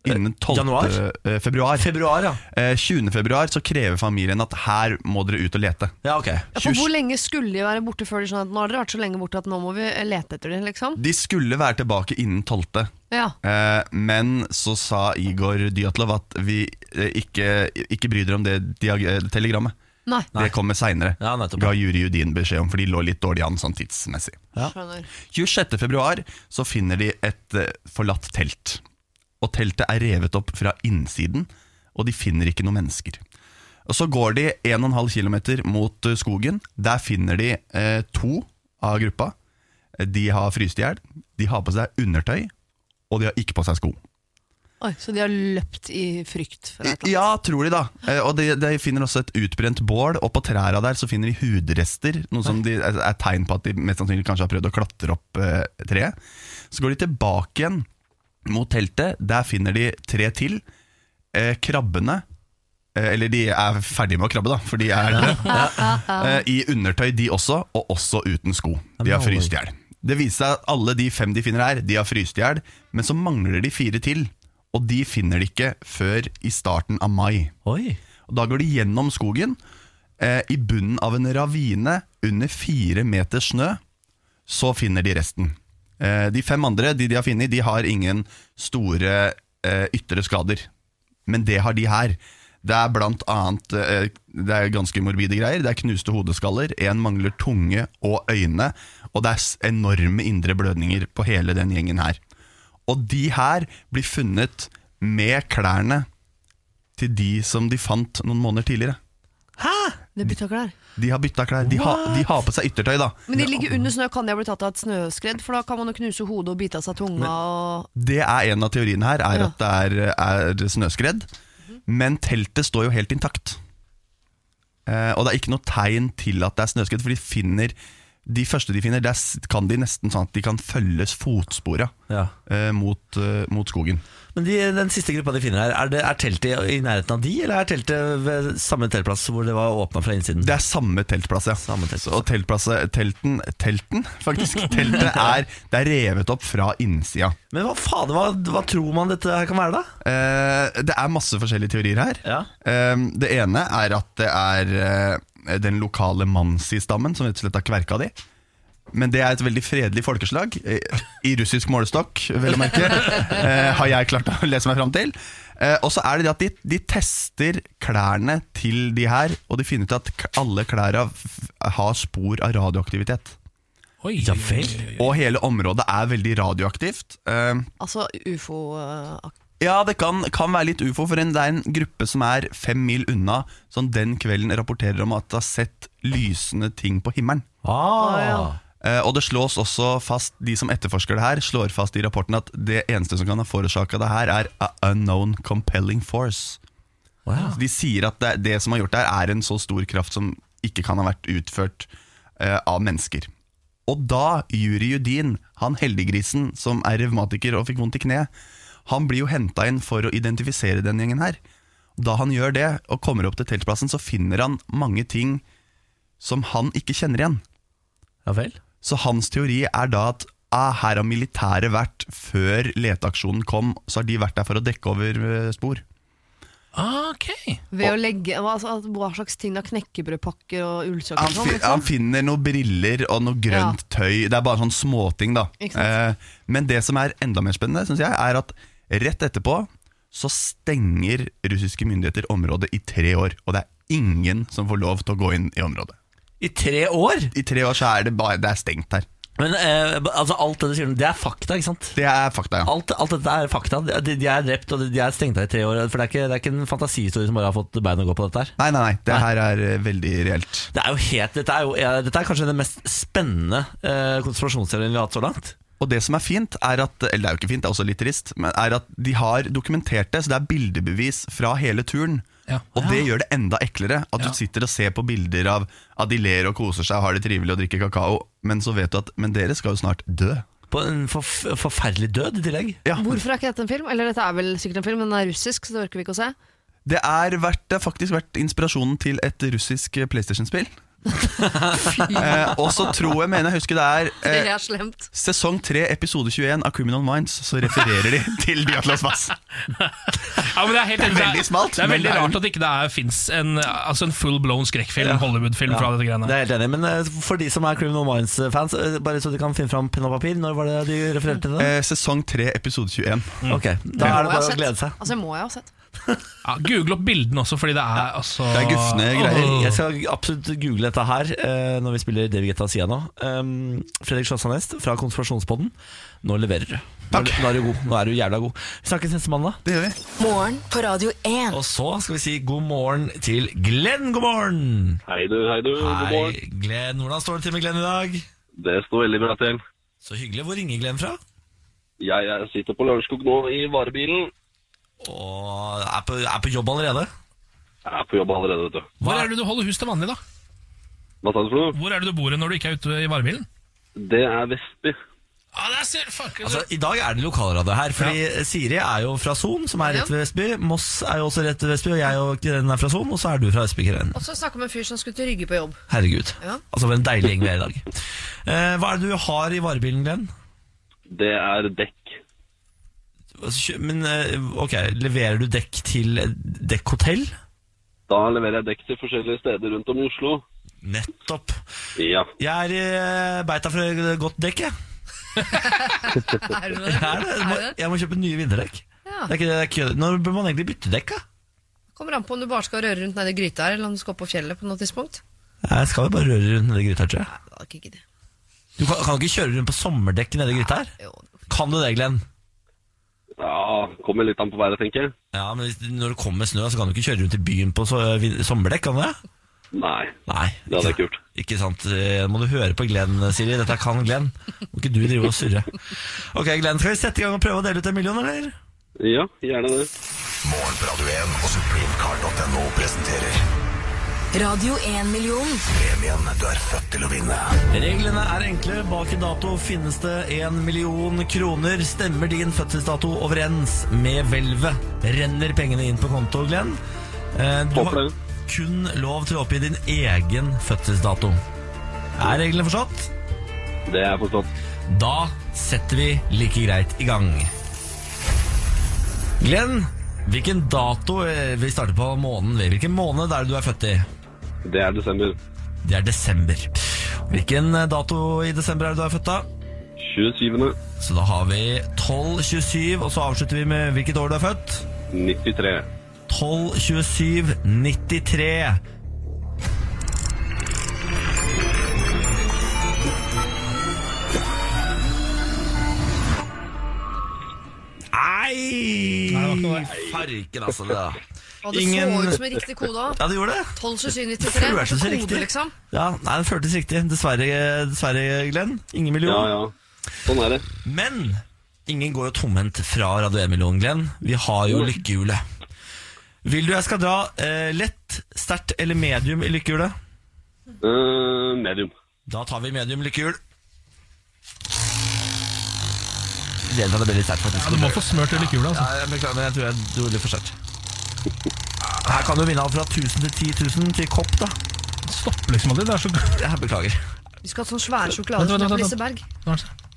Innen 12.
januar?
eh, februar.
Februar, ja.
Eh, 20. februar så krever familien at her må dere ut og lete.
Ja, ok.
Ja, for hvor lenge skulle de være borte før de skjønte at nå har dere vært så lenge borte at nå må vi lete etter dem, liksom?
De skulle være tilbake innen 12.
Ja.
Eh, men så sa Igor Dyatlov at vi eh, ikke, ikke bryr dere om det diag eh, telegrammet.
Nei.
Det kommer seinere,
Ja, nettopp.
ga Juri Judin beskjed om, for de lå litt dårlig an sånn tidsmessig.
Skjønner.
26. februar så finner de et eh, forlatt telt. Og teltet er revet opp fra innsiden, og de finner ikke noen mennesker. Og Så går de 1,5 km mot eh, skogen. Der finner de eh, to av gruppa. Eh, De har fryst i hjel, de har på seg undertøy, og de har ikke på seg sko.
Oi, så de har løpt i frykt for et eller annet?
Ja, tror de da. Eh, Og de, de finner også et utbrent bål, og på trærne der så finner de hudrester, noe som de, er er tegn på at de mest sannsynlig kanskje har prøvd å klatre opp eh, treet. Så går de tilbake igjen mot teltet, der finner de tre til. Eh, krabbene, eh, eller de er ferdige med å krabbe da, for de er døde. Eh, I undertøy de også, og også uten sko. De har fryst i hjel. Det viser seg at alle de fem de finner her, de har fryst i hjel, men så mangler de fire til. Og de finner de ikke før i starten av mai.
Oi.
Og da går de gjennom skogen, eh, i bunnen av en ravine under fire meter snø. Så finner de resten. Eh, de fem andre de, de har funnet, de har ingen store eh, ytre skader. Men det har de her. Det er blant annet eh, Det er ganske morbide greier. Det er knuste hodeskaller, én mangler tunge og øyne, og det er s- enorme indre blødninger på hele den gjengen her. Og de her blir funnet med klærne til de som de fant noen måneder tidligere.
Det bytter klær.
De har bytta klær. De, har- de har på seg yttertøy, da.
Men de ligger under snø, kan de ha blitt tatt av et snøskred? For da kan man jo knuse hodet og bite av seg tunga og
Det er en av teoriene her, er
Ja.
at det er, er snøskredd. Men teltet står jo helt intakt. Eh, og det er ikke noe tegn til at det er snøskredd, for de finner de første de finner, der s- kan de nesten sånn at de kan følges fotspora
Ja.
eh, mot, eh, mot skogen.
Men de, den siste gruppa de finner her, er, det, er teltet i nærheten av de, eller er teltet ved samme teltplass hvor det var åpna fra innsiden?
Det er samme teltplass, ja.
Samme teltplass.
Og teltplasset, telten, telten faktisk, teltet er, det er revet opp fra innsida.
Men hva faen, hva, hva tror man dette her kan være, da?
Eh, det er masse forskjellige teorier her.
Ja.
Eh, det ene er at det er eh, den lokale mansi-stammen som rett og slett har kverka de. Men det er et veldig fredelig folkeslag, eh, i russisk målestokk, vel å merke. eh, har jeg klart å lese meg fram til. Eh, og så er det det at de, de tester klærne til de her, og de finner ut at k- alle klærne f- har spor av radioaktivitet.
Oi.
Ja vel.
Og hele området er veldig radioaktivt. Eh,
Altså ufo-aktig.
Ja, det kan, kan være litt ufo, for en, det er en gruppe som er fem mil unna, som den kvelden rapporterer om at de har sett lysende ting på himmelen.
Ah.
Ah,
Eh, og det slås også fast, de som etterforsker det her, slår fast i rapporten at det eneste som kan ha forårsaka det her, er a unknown compelling force. Så De sier at det, det som har gjort det her, er en så stor kraft som ikke kan ha vært utført eh, av mennesker. Og da Juri Judin, han heldiggrisen som er revmatiker og fikk vondt i kneet, han blir jo henta inn for å identifisere den gjengen her. Da han gjør det, og kommer opp til teltplassen, så finner han mange ting som han ikke kjenner igjen.
Ja vel?
Så hans teori er da at ah, her har militæret vært før leteaksjonen kom, så har de vært der for å dekke over eh, spor.
Ah, Ok.
Ved å legge hva, altså, at- hva slags ting da? Knekkebrødpakker og ullsokker
Han,
og sånn?
fi,
Liksom.
han finner noen briller og noe grønt tøy. Det er bare sånn småting, da.
Ikke sant?
Eh, men det som er enda mer spennende, synes jeg, er at rett etterpå så stenger russiske myndigheter området i tre år. Og det er ingen som får lov til å gå inn i området.
I tre år?
I tre år så er det bare det er stengt her.
Men eh, altså, alt det du sier nå, det er fakta, ikke sant?
Det er fakta, ja.
Alt, alt dette er fakta. De, de er drept og de- de er stengt av i tre år. For det er ikke, det er ikke en fantasihistorie som bare har fått bein å gå på dette her.
Nei, nei, nei. Det her er eh, veldig reelt.
Det er jo helt, dette, er jo, eh, dette er kanskje den mest spennende eh, konspirasjonsteorien vi har hatt så langt.
Og det som er fint, er at Eller det er jo ikke fint, det er også litt trist Men er at de har dokumentert det, så det er bildebevis fra hele turen.
Ja.
Og det gjør det enda eklere. At
Ja.
du sitter og ser på bilder av at de ler og koser seg, har det trivelig og drikker kakao, men så vet du at Men dere skal jo snart dø.
På en forf forferdelig død i tillegg.
Ja.
Hvorfor er ikke dette en film? Eller dette er vel sikkert en film, men den er russisk, så det orker vi ikke å se.
Det, er vært, det har faktisk vært inspirasjonen til et russisk eh, PlayStation-spill. eh, og så tror jeg, mener jeg husker det
Det
er eh,
er slemt.
Sesong 3, episode 21 av Criminal Minds, så refererer de til Diatlas Vass.
Ja, men det, er helt,
Det er veldig smalt,
Det er
men
veldig
det er-
rart at ikke det ikke fins en, altså en full blown skrekkfilm, Hollywood-film fra dette
Det
greiene.
er jeg helt enig i, Men eh, for de som er Criminal Minds-fans, eh, bare så de kan finne fram penn og papir, når var det du refererte til det?
Eh, sesong 3, episode 21.
Ok, Da er det
Må jeg ha
bare å
sett.
glede seg.
Altså, må jeg ha sett.
Ja, Google opp bildene også, fordi det er altså
Det er gufne greier.
Åh.
Jeg skal absolutt google dette her eh, når vi spiller David Guetta Sia nå. Um, Fredrik Slåssanes fra Konspirasjonspodden, nå leverer du. Nå,
Takk.
nå er du god. Nå er du jævla god. Vi snakkes neste mandag.
Det gjør vi.
Morgen på Radio 1.
Og så skal vi si god morgen til Glenn. God morgen!
Hei du, hei du, god
Hei,
morgen.
Glenn. Hvordan står det til med Glenn i dag?
Det står veldig bra til.
Så hyggelig. Hvor ringer Glenn fra?
Jeg, jeg sitter på Lørenskog nå i varebilen.
Og er på, er på jobb allerede.
Jeg er på jobb allerede, vet du.
Hvor er det du holder hus til vanlig, da?
Hva sa du for noe?
Hvor er det du bor når du ikke er ute i varebilen?
Det er Vestby.
Ja, det er selv, fuck,
Altså, I dag er det lokalradio her, fordi Siri er jo fra Son, som er rett ved Vestby. Moss er jo også rett ved Vestby, og jeg og Glenn er fra Son, og så er du fra Vestbykeren.
Og så snakka om en fyr som skulle til Rygge på jobb.
Herregud.
Ja.
Altså, for en deilig gjeng vi er i dag. Eh, hva er det du har i varebilen, Glenn?
Det er dekk.
Altså, kjø- Men eh, ok, leverer du dekk til et dekkhotell?
Da leverer jeg dekk til forskjellige steder rundt om i Oslo.
Nettopp.
Ja.
Jeg er i eh, beita for et godt dekk, jeg.
Er
Jeg,
det
er det. Jeg, må, jeg må kjøpe nye vinterdekk.
Ja.
Det er ikke det, det er kødd. Når bør man egentlig bytte dekk, da?
Kommer an på om du bare skal røre rundt nedi gryta her, eller om du skal opp på fjellet på noe tidspunkt.
Jeg skal jo bare røre rundt nedi gryta, tror jeg.
Nei, det hadde ikke giddet.
Du kan, kan du ikke kjøre rundt på sommerdekk nedi gryta her?
Jo,
Kan du det, Glenn?
Ja, kommer litt an på været, tenker jeg.
Ja, men hvis- når det kommer snø, så kan du ikke kjøre rundt i byen på så, vin- sommerdekk, kan du det?
Nei,
Nei.
det hadde jeg ikke gjort.
Ikke sant? Eh, Må du høre på Glenn, Siri. Dette kan Glenn. Må ikke du drive og surre. Ok, Glenn, skal vi sette i gang og prøve å dele ut en million, eller?
Ja, gjerne det.
Radio 1-million.
Reglene er enkle. Bak en dato finnes det en million kroner. Stemmer din fødselsdato overens med hvelvet? Renner pengene inn på konto, Glenn? Eh, Du har
Håper det.
kun lov til å oppgi din egen fødselsdato. Er reglene forstått?
Det er forstått.
Da setter vi like greit i gang. Glenn, hvilken dato eh, Vi starter på måneden. vi. Hvilken måned er det du er født i?
Det er desember.
Det er desember. Hvilken eh, dato i desember er det du er født da?
27.
Så da har vi 1227, og så avslutter vi med hvilket år du er født.
93.
122793. Nei, Nei! Farken, altså. Det, da.
Og det så ut som en riktig kode òg.
Ja, det gjorde det.
12.793.
Følte seg
Kode,
riktig.
liksom.
Ja, nei, det føltes riktig. Dessverre, dessverre Glenn. Ingen million.
Ja, ja. Sånn er det.
Men ingen går jo tomhendt fra Radio 1-millionen, Glenn. Vi har jo lykkehjulet. Vil du jeg skal dra eh, lett, sterkt eller medium i lykkehjulet?
Eh, medium.
Da tar vi medium lykkehjul. Gleder meg, det blir litt sterkt, faktisk.
Ja, du må få smørt det lykkehjulet, altså.
Ja, jeg beklager, men jeg tror jeg dro litt for sterkt. Her kan du vinne alt fra 1000 til 10 000 til kopp, da.
Stopp liksom aldri. Det er så
Jeg beklager.
Vi skal ha sånn svære sjokolader
Vent, vent,
som
vent,
Liseberg.
Nå er det sånn.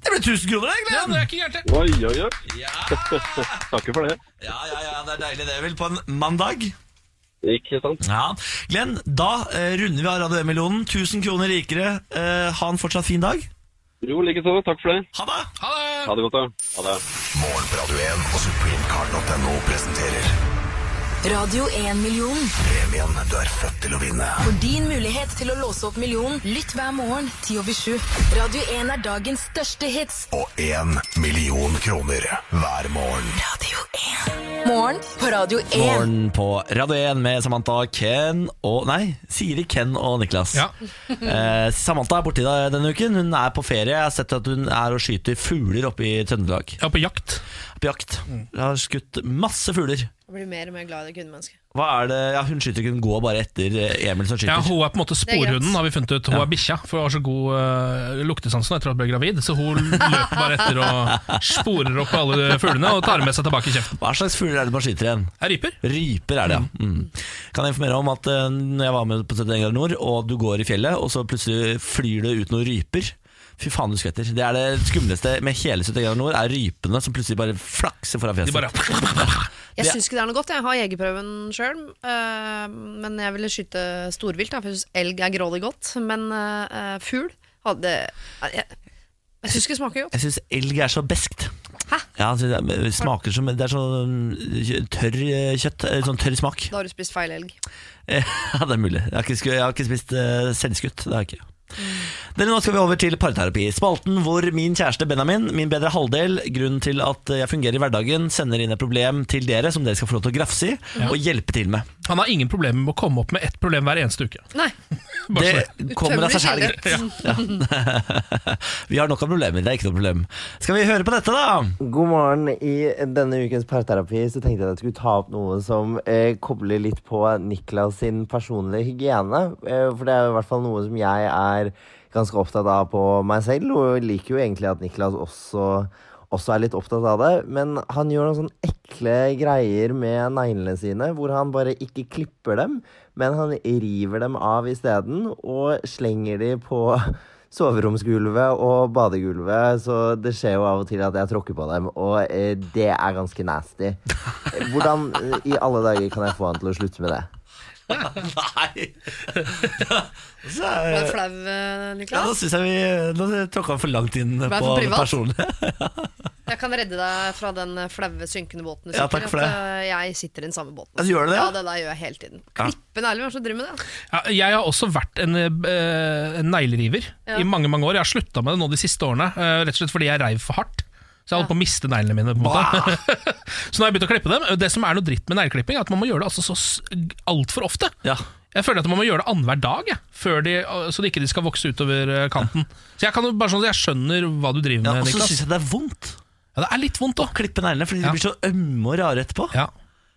Det ble 1000 kroner, jeg,
Ja,
Glenn!
det er ikke gærent, det.
Oi, oi, oi.
Ja.
Takker for det.
ja, ja, ja, det er deilig det, vel, på en mandag.
Ikke sant?
Ja. Glenn, da eh, runder vi av Radio 1-millionen. 1000 kroner rikere. Eh, ha en fortsatt fin dag.
Jo, likeså. Takk for det.
Ha det!
Ha det!
Ha det godt, da. Ha det.
Morgen på Radio 1 og supremecard.no presenterer
Radio 1-millionen.
premien du er født til å vinne.
For din mulighet til å låse opp millionen, lytt hver morgen 10 over 7. Radio 1 er dagens største hits.
Og én million kroner hver morgen.
Radio 1. Morgen på Radio 1.
Morgen på Radio 1 med Samantha, Ken og Nei, Siri, Ken og Niklas.
Ja.
Eh, Samantha er borti deg denne uken. Hun er på ferie. Jeg har sett at hun er og skyter fugler oppe i Trøndelag.
Jeg er på jakt.
På jakt.
Mm.
Hun har skutt masse fugler.
Jeg blir mer og mer glad i det kvinnemennesket.
Hva er det? Ja, hun skyter ikke, hun går bare etter eh, Emil som skyter.
Ja, Hun er på en måte
er greit.
sporhunden, har vi funnet ut. Hun er bikkja, for hun har så god uh, luktesansen etter at hun ble gravid. Så hun løper bare etter og sporer opp alle fuglene og tar med seg tilbake i kjeften.
Hva slags fugler er det man skyter igjen?
Jeg ryper.
Ryper er det, ja. Mm. Kan jeg informere om at eh, når jeg var med på 71 grader nord, og du går i fjellet, og så plutselig flyr det ut noen ryper. Fy faen, du skvetter. Det er det skumleste med hele 71 grader nord, er rypene som plutselig bare flakser foran
De
fjeset.
bare
Jeg
Det-
syns ikke det er noe godt. Jeg har jegerprøven sjøl. men jeg ville skyte storvilt, da, for jeg syns elg er grådig godt. Men eh, fugl hadde Jeg, jeg syns ikke det smaker godt.
Jeg syns elg er så beskt.
Hæ?
Ja, altså, det er- smaker som Det er sånn mm, tørr eh, kjøtt. eh, Sånn tørr smak.
Da har du spist feil elg.
Ja, det er mulig. Jeg har ikke, sku- jeg har ikke spist eh, selvskutt. Det har jeg ikke. Dere, nå skal vi over til parterapi. Spalten hvor min kjæreste Benjamin, min bedre halvdel, grunnen til at jeg fungerer i hverdagen, sender inn et problem til dere som dere skal få lov til å grafse i og hjelpe til med.
Han har ingen problemer med å komme opp med ett problem hver eneste uke.
Nei.
Bare så det.
Det kommer av seg sjæl,
Utømmelig
gitt. Ja. Vi har nok av problemer. Det er ikke noe problem. Skal vi høre på dette, da?
God morgen. I denne ukens parterapi så tenkte jeg at jeg skulle ta opp noe som eh, kobler litt på Niklas sin personlige hygiene. Eh, for det er jo i hvert fall noe som jeg er ganske opptatt av på meg selv, og liker jo egentlig at Niklas også, også er litt opptatt av det. Men han gjør noen sånne ekle greier med neglene sine, hvor han bare ikke klipper dem, men han river dem av isteden og slenger de på soveromsgulvet og badegulvet, så det skjer jo av og til at jeg tråkker på dem, og eh, det er ganske nasty. Hvordan eh, i alle dager kan jeg få han til å slutte med det?
Nei! Så
Var
er-
du flau, eh,
ja, nå
Niklas?
syns jeg vi Nå tråkka vi for langt inn
Vær
på
for privat.
personlig.
Jeg kan redde deg fra den eh, flaue, synkende båten. du
Ja,
sitter i,
takk for
at, eh, Jeg sitter i den samme båten.
Ja, gjør du det,
Ja,
ja?
det der gjør jeg hele tiden.
Ja.
Klippen ærlig, hvem er det som driver med det?
Ja, jeg har også vært en, eh, en negleriver
Ja.
i mange mange år. Jeg har slutta med det nå de siste årene, eh, rett og slett fordi jeg reiv for hardt. Så jeg holdt på å miste neglene mine. på en måte Så nå har jeg begynt å klippe dem. Det som er noe dritt med negleklipping, er at man må gjøre det altså så s- altfor ofte.
Ja.
Jeg føler at man må gjøre det annenhver dag, jeg, før de, eh, så de ikke de skal vokse utover eh, kanten. Så jeg, kan jo bare sånn, jeg skjønner hva du driver
Ja,
med,
og så
Niklas.
syns jeg det er vondt
Ja, det er litt vondt
å
òg.
klippe neglene, fordi de
Ja.
blir så ømme og rare etterpå.
Ja.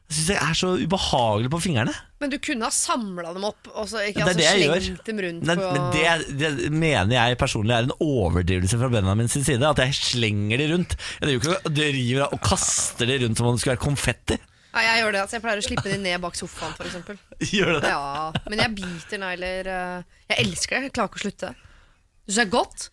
Jeg syns det er så ubehagelig på fingrene.
Men du kunne ha samla dem opp, og så ikke
Det er det jeg
altså, slengt dem rundt
Nei,
på
men det, det mener jeg personlig er en overdrivelse fra Benjamin sin side. At jeg slenger de rundt. Jeg driver ikke og driver og kaster de rundt som om det skulle være konfetti.
Nei, jeg gjør det. Altså, jeg pleier å slippe de ned bak sofaen, f.eks.
Gjør du det?
Ja, men jeg biter negler. eh, Jeg elsker det. Jeg klarer ikke å slutte. Du syns det er godt?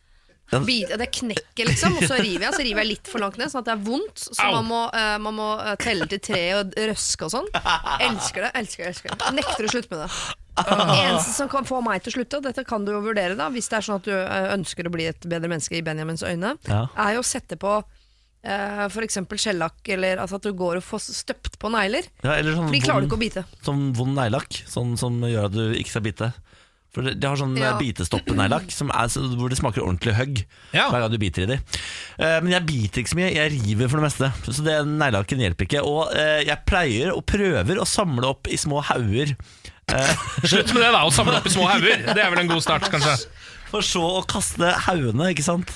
Den-
Bit, det knekker, liksom, og så river jeg. Så river jeg litt for langt ned, sånn at det er vondt. Så
Au.
man må, eh, man må eh, telle til tre og røske og sånn. Elsker det, elsker det. elsker det Nekter å slutte med det. Det eneste som kan få meg til å slutte, og dette kan du jo vurdere da hvis det er sånn at du eh, ønsker å bli et bedre menneske i Benjamins øyne,
Ja.
er jo å sette på eh, for eksempel skjellakk, eller altså at du går og får støpt på negler.
Ja, eller sånn
For de klarer du
vond-
ikke å bite.
Sånn vond neglelakk, sånn som gjør at du ikke skal bite. For det, det har sånn
Ja.
ja. bitestoppenegglakk som er så- hvor det smaker ordentlig høgg hver gang du biter i de. Eh, men jeg biter ikke så mye, jeg river for det meste. Så det neglelakken hjelper ikke. Og eh, jeg pleier og prøver å samle opp i små hauger. Eh,
Slutt med det, da, å samle opp i små hauger. Det er vel en god start, kanskje.
For så å kaste haugene, ikke sant?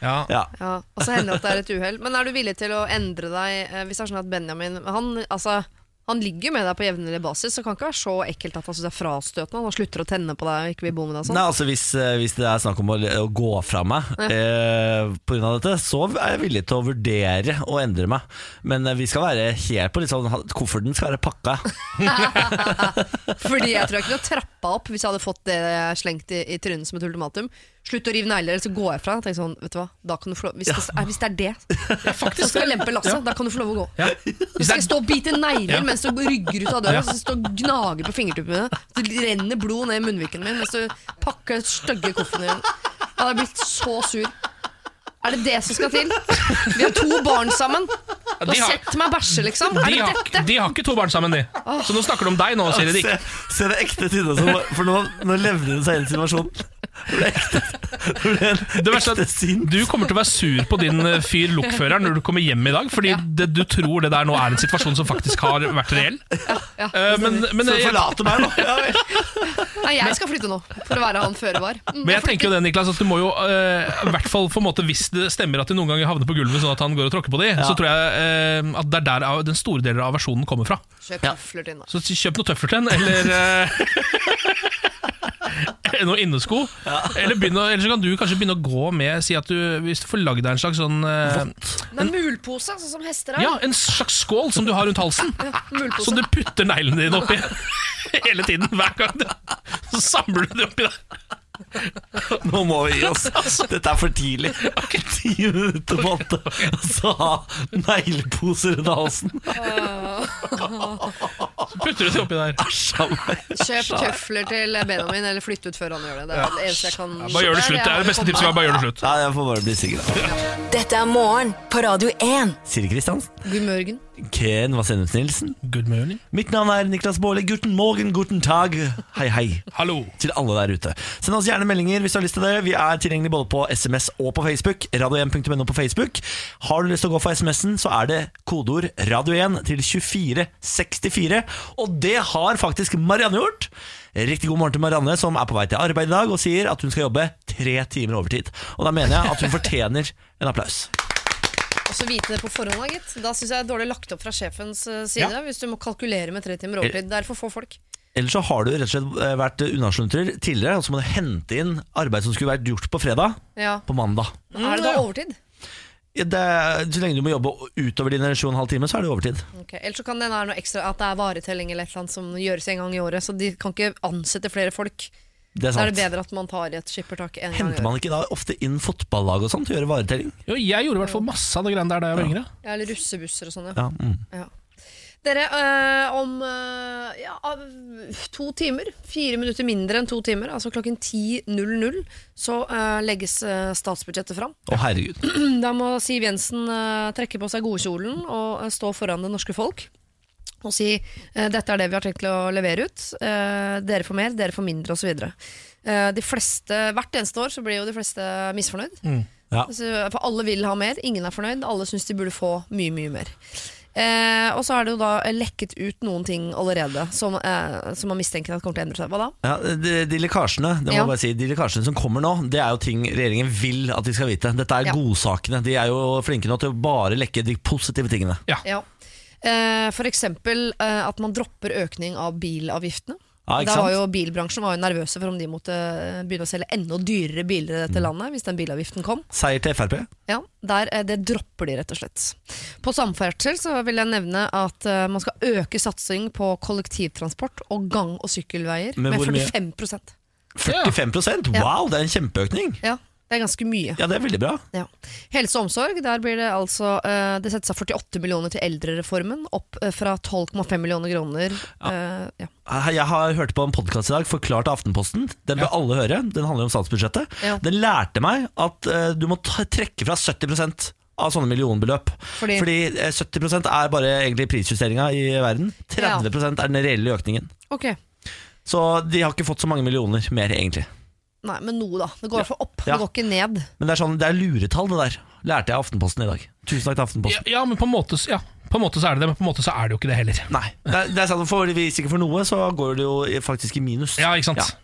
Ja.
Ja, og så hender det at det er et uhell. Men er du villig til å endre deg eh, hvis det er sånn at Benjamin Han, altså, han ligger med deg på jevnlig basis, så det kan ikke være så ekkelt at han synes det er frastøtende. Han slutter å tenne på deg og ikke vil bo med deg og sånn.
Nei, altså hvis, eh, hvis det er snakk om å, å gå fra meg
Ja.
eh, på grunn av dette, så er jeg villig til å vurdere å endre meg. Men eh, vi skal være helt på litt sånn Kofferten skal være pakka.
Fordi jeg tror jeg kunne trappa opp hvis jeg hadde fått det slengt i, i trynet som et ultimatum. Slutt å rive negler, eller så går jeg fra. Tenk sånn, vet du hva, da kan du få lov Hvis det, er- hvis det er det, da skal jeg lempe lasset. Da kan du få lov å gå. Du skal stå og bite negler
Ja.
mens du rygger ut av
Ja.
døra, så stå og gnager på fingertuppene mine. Så Det renner blod ned i munnviken min mens du pakker stygge kofferten din. Jeg hadde blitt så sur. Er det det som skal til? Vi har to barn sammen. Du har
de har-
sett meg bæsje, liksom. Er
De
det
har, de har ikke to barn sammen, de. Så nå snakker du om deg nå, Siri Dick.
Se, se det ekte Tynne, som- for nå, nå levner hun seg inn i situasjonen.
Det verste er at du kommer til å være sur på din eh, fyr lokfører når du kommer hjem i dag, fordi det, du tror det der nå er en situasjon som faktisk har vært reell. Eh, men, men,
Så
jeg-
forlater meg nå.
Nei, jeg skal flytte nå, for å være han føre var. Mm,
Men jeg tenker jo det, Niklas, at du må jo eh, i hvert fall på en måte Hvis det stemmer at de noen ganger havner på gulvet sånn at han går og tråkker på de,
Ja.
så tror jeg eh, at det er der av- den store delen av versjonen kommer fra.
Kjøp tøfler til nå.
Så kjøp noe tøfler til en, eller eh, noe innesko. Eller, begynn å, eller så kan du kanskje begynne å gå med Si at du, hvis du får lagd deg en slags sånn eh,
Men mulpose, sånn som hester har.
Ja, en slags skål som du har rundt halsen.
mulpose.
Som du putter neglene dine oppi hele tiden. Hver gang du Så samler du det oppi der.
Nå må vi gi oss. Dette er for tidlig. Jeg har ikke ti minutter på åtte, og så ha negleposer rundt halsen.
Putter du det oppi der.
Æsj av meg.
Kjøp tøfler til Benjamin, eller flytt ut før han gjør det. Det er det eneste jeg kan
Bare gjør det slutt. Det er det beste tipset. vi har. Bare gjør det slutt.
Nei, jeg får bare bli sikker.
Dette er morgen på Radio 1.
Siri Kristiansen.
God morgen.
Ken Vasenus Nilsen.
Good morning.
Mitt navn er Niklas Baarli. Guten morgen, guten tag. Hei, hei.
Hallo.
Til alle der ute. Send oss gjerne meldinger hvis du har lyst til det. Vi er tilgjengelig både på SMS og på Facebook. Radio1.no på Facebook. Har du lyst til å gå for SMS-en, så er det kodeord radio1 til 2464. Og det har faktisk Marianne gjort. Riktig god morgen til Marianne, som er på vei til arbeid i dag og sier at hun skal jobbe tre timer overtid. Og da mener jeg at hun fortjener en applaus.
Og så vite det på forhånd, da, gitt. Da syns jeg det er dårlig lagt opp fra sjefens eh, side. Hvis du må kalkulere med tre timer
Eh.
overtid. Det er for få folk.
Eller så har du rett og slett eh, vært unnaslunter tidligere, og så må du hente inn arbeid som skulle vært gjort på fredag,
Ja.
på mandag.
Mm, Er det da overtid?
Ja, Det er, så lenge du må jobbe utover dine sju og en halv time, så er det overtid.
Ok, Eller så kan det være noe ekstra at det er varetelling eller et eller annet som gjøres en gang i året. Så de kan ikke ansette flere folk.
Det er
Da
sant.
er det bedre at man tar i et skippertak en gang i
Henter
året.
man ikke da ofte inn fotballag og sånt til å gjøre varetelling?
Jo, jeg gjorde i hvert fall masse av det greiene der da jeg var yngre.
Ja, eller russebusser og sånn, ja.
Ja, mm.
Ja. Dere, eh, om eh, ja, av- to timer, fire minutter mindre enn to timer, altså klokken 10.00, så eh, legges eh, statsbudsjettet fram.
Å herregud.
Da må Siv Jensen eh, trekke på seg godkjolen og eh, stå foran det norske folk og si eh, dette er det vi har tenkt til å levere ut. Eh, dere får mer, dere får mindre, osv. Eh, de fleste, hvert eneste år så blir jo de fleste misfornøyd.
Ja.
Altså, for alle vil ha mer, ingen er fornøyd, alle syns de burde få mye, mye mer. Eh, og så er det jo da lekket ut noen ting allerede som, eh, som man mistenker at kommer til å endre seg. Hva da?
Ja, de, de lekkasjene det må
Ja.
jeg bare si, de lekkasjene som kommer nå, det er jo ting regjeringen vil at vi skal vite. Dette er
Ja.
godsakene. De er jo flinke nå til å bare lekke de positive tingene.
Ja. Eh, for eksempel eh, at man dropper økning av bilavgiftene.
Ja, ikke
Der var
sant?
jo Bilbransjen var jo nervøse for om de måtte eh, begynne å selge enda dyrere biler i
Mm.
dette landet hvis den bilavgiften kom.
Seier til Frp.
Ja, der, eh, Det dropper de, rett og slett. På samferdsel så vil jeg nevne at eh, man skal øke satsing på kollektivtransport og gang- og sykkelveier
Men
med
hvor mye?
45
45
Ja.
Wow, det er en kjempeøkning!
Ja, det er ganske mye.
Ja, det er veldig bra.
Ja. Helse og omsorg, der blir det altså eh, Det settes av 48 millioner til eldrereformen, opp eh, fra 12,5 millioner kroner. eh, ja.
Hei, Jeg har hørt på en podkast i dag, forklart av Aftenposten. Den bør alle høre. Den handler om statsbudsjettet.
Ja.
Den lærte meg at eh, du må ta, trekke fra 70 av sånne millionbeløp.
Fordi-
Fordi, eh, 70 er bare egentlig prisjusteringa i verden. 30 er den reelle økningen.
Ok,
Så de har ikke fått så mange millioner mer, egentlig.
Nei, men noe, da. Det går i hvert fall opp.
Ja.
Det går ikke ned.
Men det er, sånn, det er luretall, det der. Lærte jeg av Aftenposten i dag. Tusen takk til Aftenposten.
Ja, men på en måte, ja. på en måte så er det det, men på en måte så er det jo ikke det heller.
Nei, det er, det er sant, for Hvis ikke for noe, så går det jo i- faktisk i minus. Ja, ikke sant?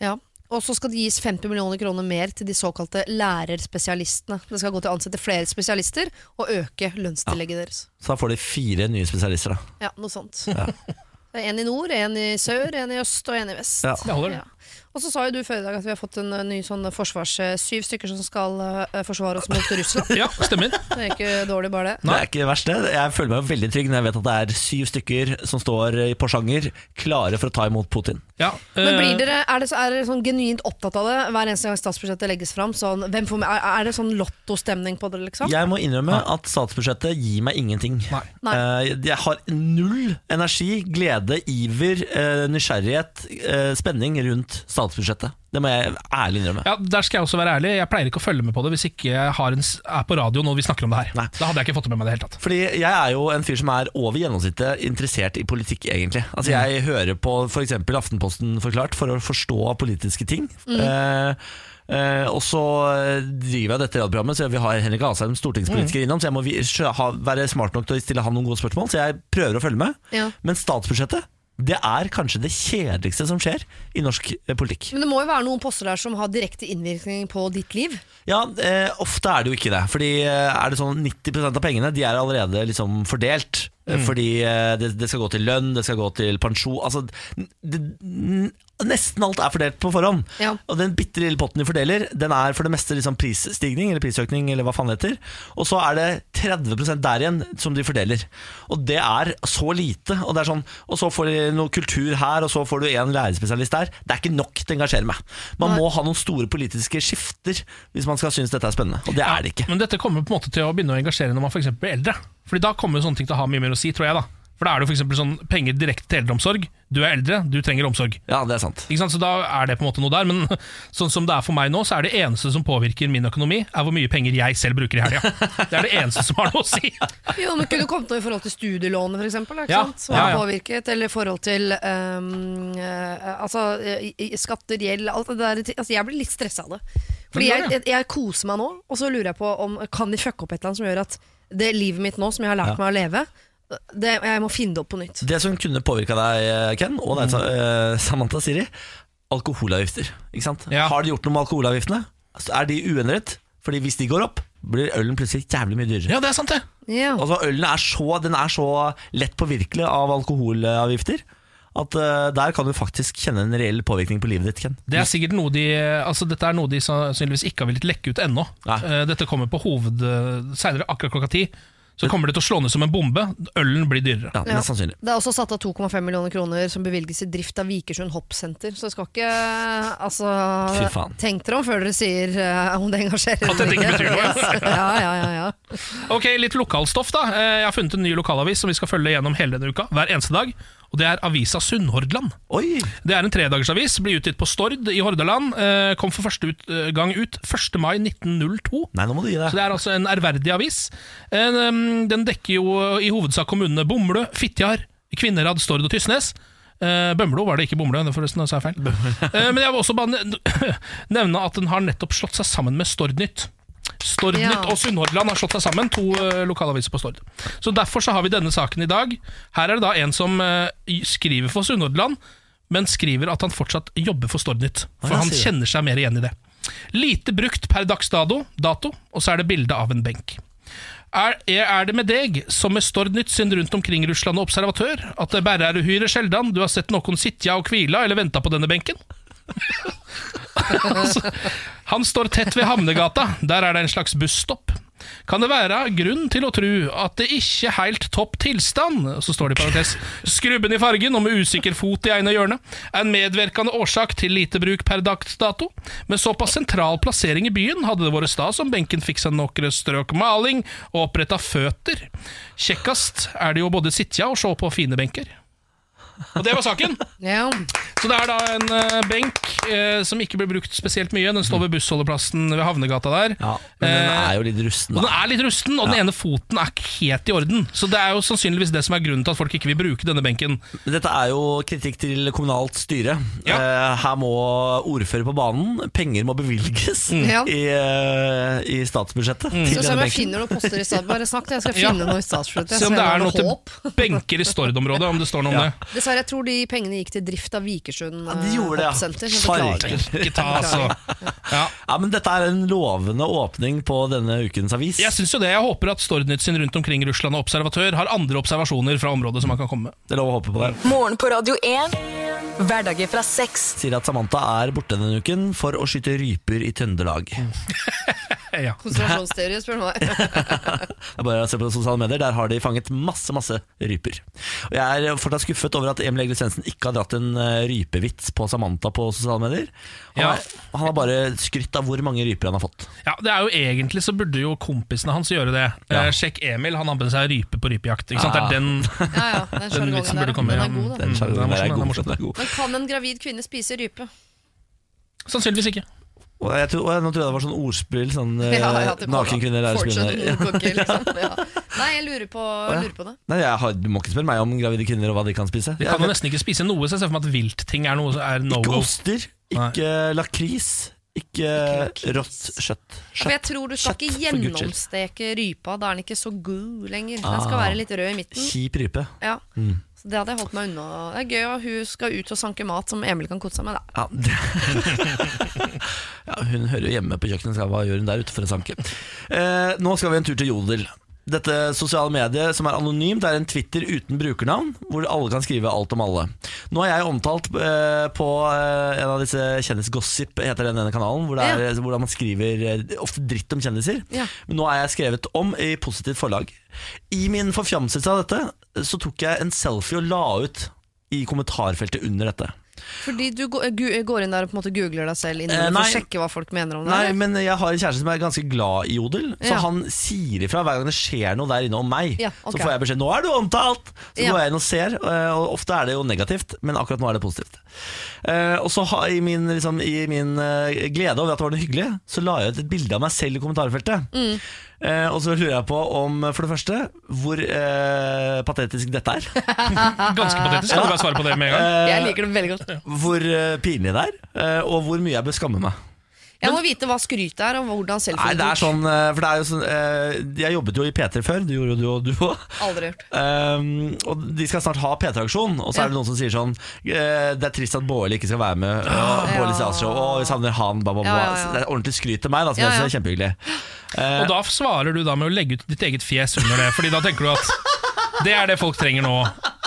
Ja. Og så skal det gis 50 millioner kroner mer til de såkalte lærerspesialistene. Det skal gå til å ansette flere spesialister og øke lønnstillegget deres.
Så da får de fire nye spesialister, da.
Ja, noe sånt.
Ja.
Det er En i nord, en i sør, en i øst og en i vest.
Ja. Det holder, det.
Og så sa jo du før i dag at vi har fått en eh, ny sånn forsvars... eh, Syv stykker som skal eh, forsvare oss mot Russland.
ja, stemmer.
Det er ikke dårlig, bare det.
Det er ikke verst, det. Jeg føler meg jo veldig trygg når jeg vet at det er syv stykker som står i Porsanger, klare for å ta imot Putin.
Men
Eh.
blir dere, er dere, så- er dere sånn genuint opptatt av det hver eneste gang statsbudsjettet legges fram? Sånn, hvem får, med- er, er det sånn lottostemning på dere, liksom?
Jeg må innrømme at statsbudsjettet gir meg ingenting. Eh, jeg har null energi, glede, iver, eh, nysgjerrighet, eh, spenning rundt statsbudsjettet. Det må jeg ærlig innrømme.
Ja, Der skal jeg også være ærlig. Jeg pleier ikke å følge med på det hvis ikke jeg har en, s- er på radio når vi snakker om det her. Da hadde jeg ikke fått det med meg i det hele tatt.
Fordi jeg er jo en fyr som er over gjennomsnittet interessert i politikk, egentlig. Altså Jeg hører på f.eks. Aftenposten forklart for å forstå politiske ting.
Mm.
Eh, eh, og så driver jeg dette radioprogrammet, så vi har Henrik Asheim, stortingspolitiker, innom. Så jeg må vi- skjø- ha, være smart nok til å stille han noen gode spørsmål, så jeg prøver å følge med.
Ja.
Men statsbudsjettet, det er kanskje det kjedeligste som skjer i norsk eh, politikk.
Men det må jo være noen poster der som har direkte innvirkning på ditt liv.
Ja, eh, ofte er det jo ikke det. Fordi eh, er det sånn 90 av pengene De er allerede liksom fordelt. Eh,
Mm.
Fordi eh, det, det skal gå til lønn, det skal gå til pensjon Altså n- det, n- Nesten alt er fordelt på forhånd. Og den bitte lille potten de fordeler, den er for det meste liksom prisstigning eller prisøkning. Eller hva faen det heter Og så er det 30 der igjen som de fordeler. Og det er så lite. Og, det er sånn, og så får de noe kultur her, og så får du en lærerspesialist der. Det er ikke nok til å engasjere meg. Man må ha noen store politiske skifter hvis man skal synes dette er spennende. Og det er det ikke.
Men dette kommer på en måte til å begynne å engasjere når man for eksempel blir eldre. Fordi da kommer jo sånne ting til å ha mye mer å si, tror jeg. da For da er det jo for eksempel sånn penger direkte til eldreomsorg. Du er eldre, du trenger omsorg.
Ja, det er sant
Ikke sant? Så da er det på en måte noe der. Men sånn som det er for meg nå, så er det eneste som påvirker min økonomi, er hvor mye penger jeg selv bruker i helga. Det er det eneste som har noe å si.
Jo, men kunne kommet noe i forhold til studielånet, for eksempel, da, ikke
Ja,
sant? som
ja,
har
ja.
påvirket, eller i forhold til ehm, eh, altså, eh, i- i- skatter, gjeld, alt det der. Altså, jeg blir litt stressa av det.
Men
Fordi jeg,
det er
jeg, jeg koser meg nå, og så lurer jeg på om kan de fucke opp et eller annet som gjør at det livet mitt nå, som jeg har lært
Ja.
meg å leve, det, jeg må finne det opp på nytt.
Det som kunne påvirka deg, Ken, og
Mm.
deg, eh, Samantha Siri, alkoholavgifter. Ikke sant? Har de gjort noe med alkoholavgiftene? Altså, Er de uendret? Fordi hvis de går opp, blir ølen plutselig jævlig mye dyrere.
Ja, det er sant det
Altså, Ølen er så, den er så lett påvirkelig av alkoholavgifter at eh, der kan du faktisk kjenne en reell påvirkning på livet ditt, Ken.
Det er sikkert noe de Altså Dette er noe de sannsynligvis ikke har villet lekke ut ennå. Eh, Dette kommer på hoved eh, Senere, akkurat klokka ti. Så kommer det til å slå ned som en bombe. Ølen blir dyrere.
Ja,
Ja. Det er også satt av 2,5 millioner kroner som bevilges i drift av Vikersund hoppsenter. Så det skal ikke altså,
Fy faen.
Tenk dere om før dere sier eh, om det engasjerer
At dette ikke betyr noe.
Yes. Ja, ja, ja, ja.
Ok, Litt lokalstoff, da. Eh, Jeg har funnet en ny lokalavis som vi skal følge gjennom hele denne uka. Hver eneste dag. Og det er avisa Sunnhordland. Det er en tredagersavis. Ble utgitt på Stord i Hordaland. eh, Kom for første ut, eh, gang ut 1. mai 1902.
Nei, nå må du gi deg.
Så det er altså en ærverdig avis. En, em, Den dekker jo i hovedsak kommunene Bumble, Fitjar, Kvinnherad, Stord og Tysnes. Eh, Bømlo var det ikke Bumble, det forresten, da sa jeg feil. Eh, Men jeg vil også bare ne- nevne at den har nettopp slått seg sammen med Stordnytt. Stordnytt
Ja.
og Sunnhordland har slått seg sammen, to eh, lokalaviser på Stord. Så Derfor så har vi denne saken i dag. Her er det da en som eh, skriver for Sunnhordland, men skriver at han fortsatt jobber for Stordnytt. For
Ja,
han
sier
kjenner seg mer igjen i det. Lite brukt per dags dato, dato og så er det bilde av en benk. Er, er det med deg, som med Stordnytt sin rundt omkring Russland og observatør, at det bare er uhyre sjeldan du har sett noen sitja og hvila eller venta på denne benken? Altså, Han står tett ved Hamnegata. Der er det en slags busstopp. Kan det være grunn til å tru at det ikke heilt topp tilstand Så står det i parentes Skrubben i fargen og med usikker fot i ene hjørne er en medvirkende årsak til lite bruk per dags dato. Med såpass sentral plassering i byen hadde det vært stas om benken fiksa nokre strøk maling og oppretta føtter. Kjekkast er det jo både sitja og sjå på fine benker. Og det var saken! Så det er da en eh, benk eh, som ikke blir brukt spesielt mye. Den står ved bussholdeplassen ved Havnegata der.
Men den
Eh,
er jo litt rusten,
og den
da.
er litt rusten, og den ene foten er ikke helt i orden. Så det er jo sannsynligvis det som er grunnen til at folk ikke vil bruke denne benken.
Dette er jo kritikk til kommunalt styre. Eh, Her må ordfører på banen. Penger må bevilges
Mm. Ja. Mm.
i, eh, i statsbudsjettet. Til
Så se
denne
om jeg
benken.
finner noen poster i stad. Bare snakk, jeg skal
Ja.
finne noe i statsbudsjettet.
Se om
så
det
jeg
er
har
noe til
håp.
benker i Stord-området, om det står noe om det.
Dessverre, jeg tror de pengene gikk til drift av Vikersund ja,
De gjorde det,
hoppsenter.
ja.
så beklager.
Ikke ta, altså. Ja.
men Dette er en lovende åpning på denne ukens avis.
Jeg synes jo det, jeg håper at Stordnytt sin rundt omkring i Russland og observatør har andre observasjoner fra området som man kan komme med.
Det er lov å håpe på det.
Morgen på Radio 1. Hverdager fra seks.
Sier at Samantha er borte denne uken for å skyte ryper i Trøndelag.
Mm. Konspirasjonsteori, spør du meg.
Det er bare å se på sosiale medier, Der har de fanget masse masse ryper. Og Jeg er fortsatt skuffet over at Emil Egil Svendsen ikke har dratt en eh, rypevits på Samantha på sosiale medier. Han,
Ja.
har, han har bare skrytt av hvor mange ryper han har fått.
Ja, det er jo Egentlig så burde jo kompisene hans gjøre det. Eh, sjekk Emil, han har med seg rype på rypejakt. Ikke sant?
Ja.
Det er den,
den
den
sjargongen
vitsen
der,
burde komme.
den
ja.
er god, da.
Den sjargongen
Mm, Den er
der er
morsom, den er
god,
morsom.
den er god.
Men kan en gravid kvinne spise rype?
Sannsynligvis ikke.
Og jeg tror, og jeg, nå tror jeg det var sånn ordspill. Sånn eh,
Ja, ja, det kom,
nakenkvinner
ja.
er
Fortsatt
spinner.
noen kokker, liksom. ja. Nei, jeg lurer på, jeg lurer på det.
Nei, jeg har, Du må ikke spørre meg om gravide kvinner og hva de kan spise.
De
Jeg
kan jo
vet-
nesten ikke spise noe, så jeg ser for meg at viltting er noe som er no
Ikke
go.
oster, ikke lakris, ikke, rått kjøtt.
For jeg tror du skal ikke
for Guds skyld.
gjennomsteke rypa. Da er den ikke så god lenger. Den skal
Ah.
være litt rød i midten.
Kjip rype.
Ja.
Mm.
Så det hadde jeg holdt meg unna. Det er gøy at hun skal ut og sanke mat som Emil kan kose seg med.
Ja,
Da.
det. ja, hun hører jo hjemme på kjøkkenet, så hva gjør hun der ute for en sanke? Eh, nå skal vi en tur til Jodel. Dette sosiale mediet som er anonymt, er en Twitter uten brukernavn, hvor alle kan skrive alt om alle. Nå har jeg omtalt eh, på eh, en av disse Kjendisgossip, heter den ene kanalen, hvor det er, hvordan man skriver eh, ofte dritt om kjendiser.
Ja.
Men nå er jeg skrevet om i positivt forlag. I min forfjamselse av dette, så tok jeg en selfie og la ut i kommentarfeltet under dette.
Fordi du går- eh, gu- går inn der og på en måte googler deg selv
Eh,
innimellom for å
nei.
sjekke hva folk mener om det?
Nei,
eller?
men jeg har en kjæreste som er ganske glad i jodel, så
Ja.
han sier ifra hver gang det skjer noe der inne om meg.
Ja, ok.
Så får jeg beskjed 'nå er du omtalt', så
Ja.
går jeg inn og ser. eh, Og ofte er det jo negativt, men akkurat nå er det positivt. Eh, Og så har- i min, liksom, i min eh, glede over at det var noe hyggelig, så la jeg ut et bilde av meg selv i kommentarfeltet.
Mm.
Eh, og så lurer jeg på om, for det første, hvor eh, patetisk dette er.
Ganske patetisk, kan du bare svare på det med en gang?
Jeg
eh,
liker det veldig godt.
Hvor eh, pinlig det er, eh, og hvor mye jeg bør skamme meg.
Jeg må vite hva skryt er, og hvordan
Nei,
selfie
det er sånn, eh, for det er jo sånn eh, Jeg jobbet jo i P3 før, det gjorde jo du og du òg.
Aldri gjort.
Um, og de skal snart ha P3-aksjon, og så er det noen som sier sånn eh, Det er trist at Bårli ikke skal være med.
Ah,
Uh, Bårli Statshow, og vi savner han, ba, ba, ba.
Ja, ja, ja.
Det er ordentlig skryt til meg, da, som
Ja,
jeg
ja.
synes er kjempehyggelig. Eh,
Og da svarer du da med å legge ut ditt eget fjes under det, Fordi da tenker du at det er det folk trenger nå.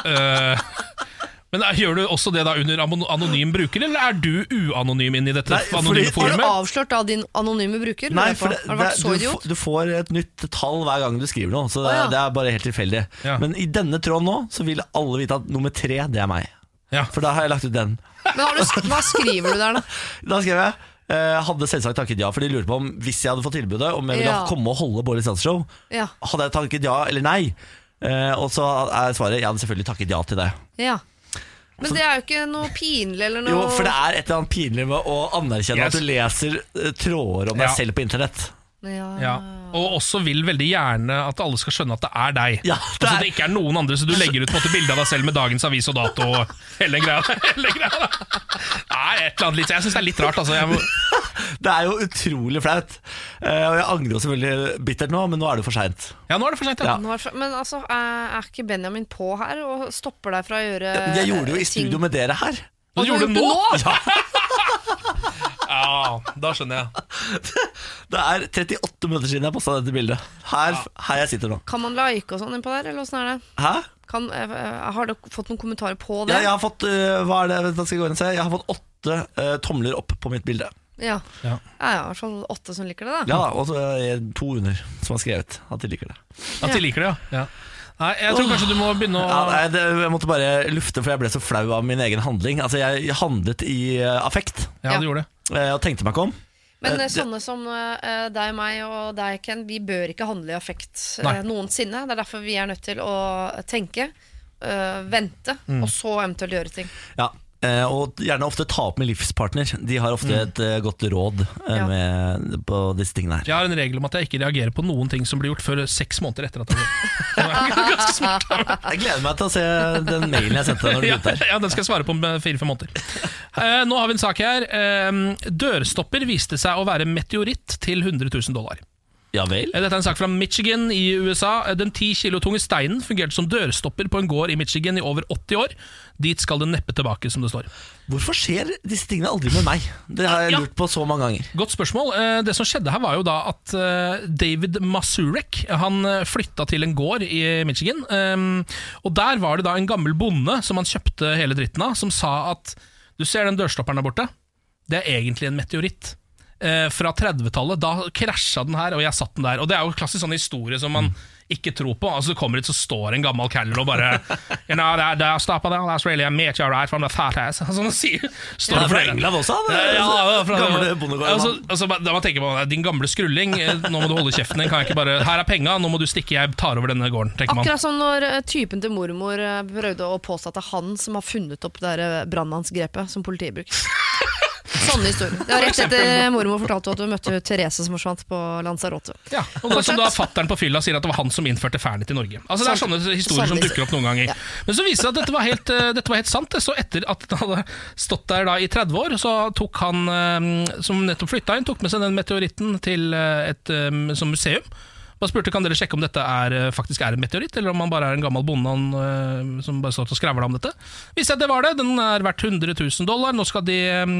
Eh, men da, gjør du også det da under amon- anonym bruker, eller er du uanonym inn i dette anonyme
Har du
forumet?
avslørt da din anonyme bruker?
Nei,
Lurer jeg på.
for det,
har du vært
det-
så
du,
idiot?
f- du får et nytt tall hver gang du skriver noe, så det,
Å, ja.
det er bare helt tilfeldig. Men i denne tråden nå så vil alle vite at nummer tre, det er meg. For da har jeg lagt ut den.
Men har du, hva skriver du der, da?
Da skrev jeg eh, hadde selvsagt takket ja, for de lurte på om hvis jeg hadde fått tilbudet, om jeg ville
Ja.
komme og holde Bård Lisands show.
Ja.
Hadde jeg takket ja eller nei? Eh, og så er svaret jeg hadde selvfølgelig takket ja til det.
ja. Men det er jo ikke noe pinlig eller noe
Jo, for det er et eller annet pinlig med å anerkjenne at
Yes.
du leser eh, tråder om deg
Ja.
selv på internett.
Ja.
Ja. Og også vil veldig gjerne at alle skal skjønne at det er deg. det Altså det ikke er noen andre, så du legger ut på en måte bilde av deg selv med dagens avis og dato og hele greia. Hele greia da. Nei, et eller annet litt Jeg syns det er litt rart, altså. Jeg må,
Det er jo utrolig flaut. Eh, og jeg angrer jo selvfølgelig bittert nå, men nå er det jo for seint.
Ja, nå er det for seint.
Nå er det fra- Men altså, er er ikke Benjamin på her og stopper deg fra å gjøre
Jeg gjorde det jo i studio med dere her.
Og du gjorde det
nå?
Ja, da skjønner jeg.
Det er 38 minutter siden jeg posta dette bildet. Her, her jeg sitter nå.
Kan man like og sånn innpå der, eller åssen er det?
Hæ?
Kan, eh, eh, har dere fått noen kommentarer på det?
Ja, jeg har fått eh, Hva er det? Vent, da skal jeg gå inn og se. Jeg har fått åtte eh, tomler opp på mitt bilde.
Ja.
Ja.
Ja, ja, i hvert fall åtte som liker det, da.
Ja da, Og så er det to under som har skrevet at de liker det.
At de liker det, ja. Nei, jeg tror kanskje du må begynne å
Ja, nei, det, jeg måtte bare lufte, for jeg ble så flau av min egen handling. Altså, jeg handlet i eh, affekt.
Ja, du gjorde det.
Eh, og tenkte meg ikke om. Eh,
Men eh,
det-
sånne som eh, deg, meg og deg, Ken, vi bør ikke handle i affekt eh,
Nei.
noensinne. Det er derfor vi er nødt til å tenke eh, vente,
Mm.
og så eventuelt gjøre ting.
Ja, eh, og gjerne ofte ta opp med livspartner. De har ofte
Mm.
et eh, godt råd eh,
Ja.
med, på disse tingene her.
Jeg har en regel om at jeg ikke reagerer på noen ting som blir gjort før seks måneder etter at det Ganske smart.
Jeg gleder meg til å se den mailen jeg sendte deg når du begynte her.
ja, den skal jeg svare på om fire-fem måneder. Eh, nå har vi en sak her. Eh, dørstopper viste seg å være meteoritt til 100 000 dollar.
Ja vel?
Eh, Dette er en sak fra Michigan i USA. Eh, Den 10 kilo tunge steinen fungerte som dørstopper på en gård i Michigan i over 80 år. Dit skal den neppe tilbake, som det står.
Hvorfor skjer disse tingene aldri med meg? Det har jeg lurt på så mange ganger.
Godt spørsmål. Eh, Det som skjedde her var jo da at eh, David Masurek Han eh, flytta til en gård i Michigan. eh, Og der var det da en gammel bonde som han kjøpte hele dritten av, som sa at du ser den dørstopperen der borte, det er egentlig en meteoritt. Eh, Fra 30-tallet. Da krasja den her, og jeg satt den der. Og det er jo klassisk sånn historie som man ikke tror på. Altså Du kommer hit, så står en gammel caller og bare you know, that, that stopper there, that's really a meteorite from the fat ass. Sånn sier
Ja,
det
fra
flere.
England også, han,
Eh, Ja, det er fra-
gamle bondegården,
Altså,
han.
altså, da man tenker på Din gamle skrulling, eh, nå må du holde kjeften din. Kan jeg ikke bare, Her er penga, nå må du stikke, jeg tar over denne gården. tenker man
Akkurat som når eh, typen til mormor eh, prøvde å påstå at det er han som har funnet opp det der, eh, brannmannsgrepet som politiet bruker. Sånne historier. Det var rett etter mormor fortalte at hun møtte Therese som forsvant på Lanzarote.
Ja, Og da, som da fatteren på fylla sier at det var han som innførte fernet i Norge. Altså Det er
Sant.
sånne historier
Sånne
som
historier.
dukker opp noen ganger. Men så viser det seg at dette var helt, eh, dette var helt sant. Så etter at den hadde stått der da i 30 år, så tok han eh, som nettopp flytta inn, tok med seg den meteoritten til eh, et eh, som museum. Bare spurte kan dere sjekke om dette er, eh, faktisk er en meteoritt, eller om han bare er en gammel bonde han, eh, som bare står og skravler om dette. Viste seg at det var det. Den er verdt 100 000 dollar. Nå skal de eh,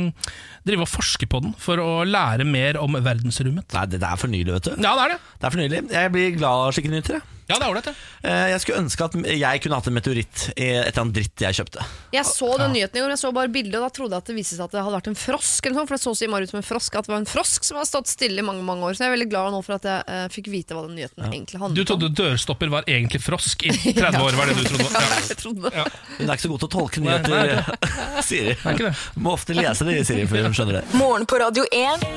drive og forske på den for å lære mer om verdensrommet.
Nei, det det er for nylig, vet du.
Ja, det er det.
Det er for nylig. Jeg blir glad av slike nyheter. jeg.
Ja, det er ålreit, det.
Eh, Jeg skulle ønske at jeg kunne hatt en meteoritt i et eller annet dritt jeg kjøpte.
Jeg så den nyheten i går, jeg så bare bildet, og da trodde jeg at det viste seg at det hadde vært en frosk. Eller noe, sånt, for det så så innmari ut som en frosk At det var en frosk som har stått stille i mange mange år. Så jeg er veldig glad nå for at jeg eh, fikk vite hva den nyheten egentlig
Du
handlet om.
trodde dørstopper var egentlig frosk i 30 år, var det du trodde?
Ja,
Ja.
jeg trodde det.
Hun er ikke så god til å tolke
Nei, nei,
nyheter, Siri. Må ofte lese det, Siri, før hun skjønner det.
Morgen på Radio 1.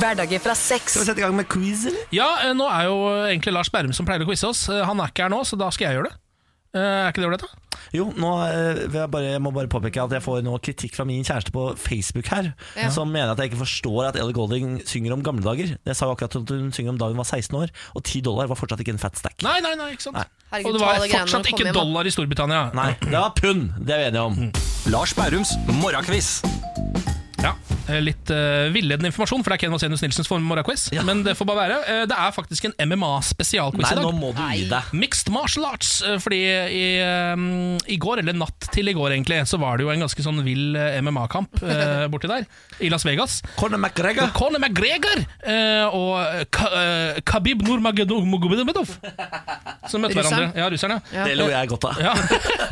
Hverdager fra seks. Skal
vi sette i gang med quiz, eller?
Ja, eh, nå er jo egentlig Lars Berrum som pleier å quize oss. Eh, Han er ikke her nå, så da skal jeg gjøre det. Eh, Er ikke det ålreit, da?
Jo, nå eh, vil jeg, bare, jeg må bare påpeke at jeg får nå kritikk fra min kjæreste på Facebook her,
Ja.
som mener at jeg ikke forstår at Ellie Golding synger om gamle dager. Jeg sa jo akkurat at hun synger om da hun var 16 år, og 10 dollar var fortsatt ikke en fat stack.
Nei, nei, nei, ikke sant.
Nei.
Herregud,
Og det
ta
var
alle greiene og
fortsatt
kom
ikke
hjem, da.
dollar i Storbritannia.
Nei, det var pund, det er vi enige om.
Mm.
Lars Bærums morgenquiz.
Ja, eh, Litt eh, villedende informasjon, for det er Ken Vasenius Nilsens form morgenquiz. Men det får bare være. Eh, det er faktisk en MMA-spesialquiz
Nei,
i dag.
nå må du gi deg.
Mixed martial arts. eh, Fordi i, eh, i går, eller natt til i går egentlig, så var det jo en ganske sånn vill MMA-kamp eh, borti der. I Las Vegas.
Conor McGregor.
Conor McGregor eh, og Ka eh, Khabib Nurmagomedov. Som
Russeren.
møtte hverandre. Ja, russerne.
Ja. Det lo jeg godt av.
Ja.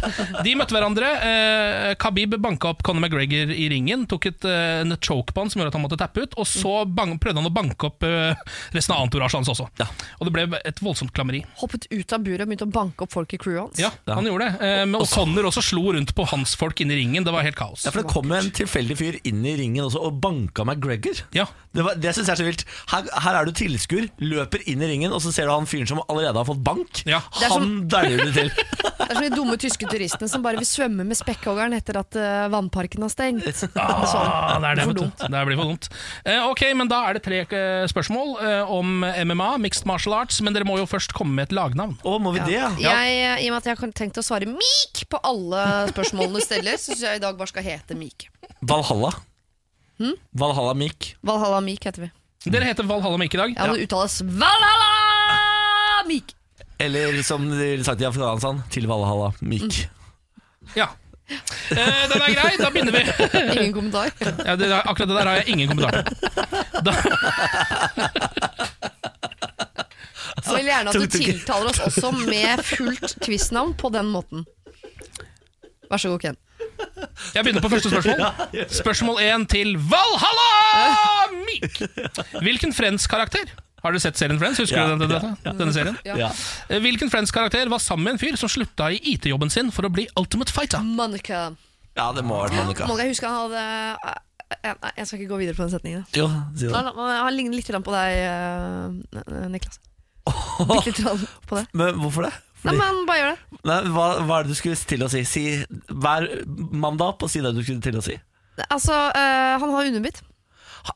De møtte hverandre. Eh, Khabib banka opp Conor McGregor i ringen. Tok et, eh, en choke på han som gjorde at han måtte tappe ut. Og så bang, prøvde han å banke opp eh, resten av entouragen hans også. Og det ble et voldsomt klammeri.
Hoppet ut av buret og begynte å banke opp folk i crewet hans.
Ja, han gjorde det. Eh, men, og Conor også slo rundt på hans folk inni ringen. Det var helt kaos.
Ja, for Det kom jo en tilfeldig fyr inn i ringen også og banka McGregor. Det, var- det syns jeg er så vilt. Her, her er du tilskuer, løper inn i ringen, og så ser du han fyren som allerede har fått bank.
Det er
Han
som-
dæljer du til.
Det er som de dumme tyske turistene som bare vil svømme med spekkhoggeren etter at eh, vannparken har stengt.
Ah,
Sånn.
det er det,
For
vet du.
dumt.
Det blir for dumt. Eh, ok, men da er det tre eh, spørsmål eh, om MMA, mixed martial arts, men dere må jo først komme med et lagnavn.
må vi
Ja. Jeg, eh, I og med at jeg har tenkt å svare Mik på alle spørsmålene du stiller, så syns jeg i dag bare skal hete Mik.
Valhalla.
Hm?
Valhalla Mik.
Valhalla Mik heter vi.
Dere heter Valhalla Mik i dag.
Ja, det uttales Valhalla Mik.
Eller som de ville sagt i Afghanistan, til Valhalla Mik.
Mm.
Eh, den er grei, da begynner vi.
Ingen kommentar.
Ja, det, akkurat det der har jeg ingen kommentar til.
Så vil jeg gjerne at du tiltaler oss også med fullt quiznavn på den måten. Vær så god, Ken.
Jeg begynner på første spørsmål. Spørsmål én til Valhalla Mik. Hvilken Friends-karakter har dere sett serien Friends? Husker
Ja,
du den,
ja, ja.
denne serien?
Ja.
Eh, Hvilken Friends-karakter var sammen med en fyr som slutta i IT-jobben sin for å bli Ultimate Fighter?
Monica.
Ja, det må ha vært Monica.
Monica, jeg husker han hadde jeg, jeg- jeg skal ikke gå videre på den setningen.
Jo, si det.
Han, han ligner litt grann på deg, eh, Niklas. Bitte litt grann på det.
Men hvorfor det?
Nei, men bare gjør det.
Nei, hva, hva er det du skulle til å si? si hver mandag opp og si det du skulle til å si.
Altså, eh, han har underbitt.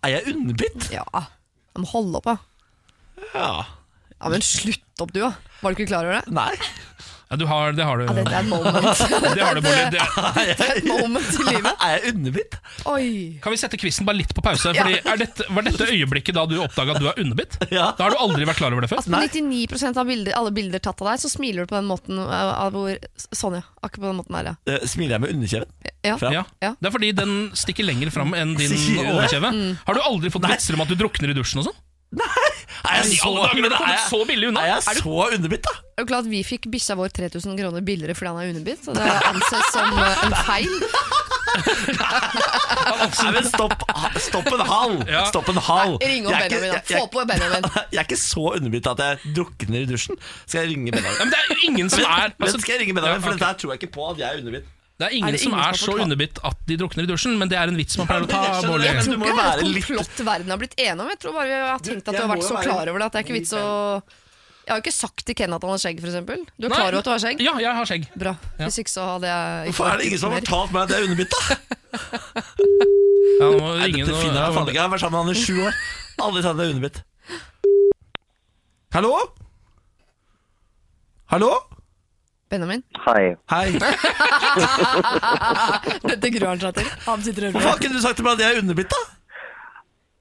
Er jeg underbitt?
Ja. Han må holde opp, da.
Ja.
Ja, men slutt opp, du, da. Var du ikke klar over det?
Nei.
Ja, du har, det har du.
Ja, dette er et moment.
det har du, Bolli. Det,
Dette er et moment i livet.
Er jeg underbitt?
Oi.
Kan vi sette quizen bare litt på pause? Fordi er dette, var dette øyeblikket da du oppdaga at du er underbitt?
Ja.
Da har du aldri vært klar over det før?
Altså, på 99 av bilder, alle bilder tatt av deg, så smiler du på den måten eh, av hvor Sånn, ja. Akkurat på den måten der, ja.
Eh, Smiler jeg med underkjeven?
Ja.
Fram.
Ja.
Det er fordi den stikker lenger fram enn din
Sier du det?
overkjeve.
Mm.
Har du aldri fått vitser om at du drukner i dusjen og sånn?
Er jeg
I
så,
alle dager,
men
det kommer
er jeg-
så billig unna.
Er jeg
Er du-
så underbitt, da?
Det er jo klart Vi fikk bikkja vår 3000 kroner billigere fordi han er underbitt, så det anses som eh, en feil.
Nei, men stopp, stopp en hal!
Ja.
Stopp en hal.
Ring opp
Jeg er ikke-
Benjamin, da.
jeg- jeg-
Få på Benjamin.
Jeg er ikke så underbitt at jeg drukner i dusjen. Skal jeg ringe Benjamin?
Ja, men det er ingen som er altså,
Men skal jeg ringe Benjamin,
Ja,
for
ok.
dette her tror jeg ikke på at jeg er underbitt.
Det er ingen
Er det
som
ingen
er
som
så
har
underbitt at de drukner i dusjen, men det er en vits man pleier å
Ja, men
ta.
jeg skjønner
Bård.
det, men du må
Det er
være
et
litt-
komplott verden har blitt enig om. Jeg tror bare vi har tenkt at
jeg
du har
må
vært
jo
så
være
klar over det at det er ikke vits å Jeg har jo ikke sagt til Ken at han har skjegg, f.eks. Du er
Nei,
klar over at du har skjegg?
Ja, jeg har skjegg.
Bra. Hvis ikke så hadde jeg ikke
Hvorfor er det ingen som har
orket mer.
fortalt meg at jeg er underbitt, da?
Ja, nå må
Nei,
ringe
dette
noe-
finner jeg faen ikke. Jeg har vært sammen med han i sju år. Aldri sagt at jeg er underbitt. Hallo? Hallo?
Benjamin?
Hei. Hei.
Dette gruer han seg til. Han sitter og
Hvorfor har ikke du sagt til meg at jeg er underbitt, da?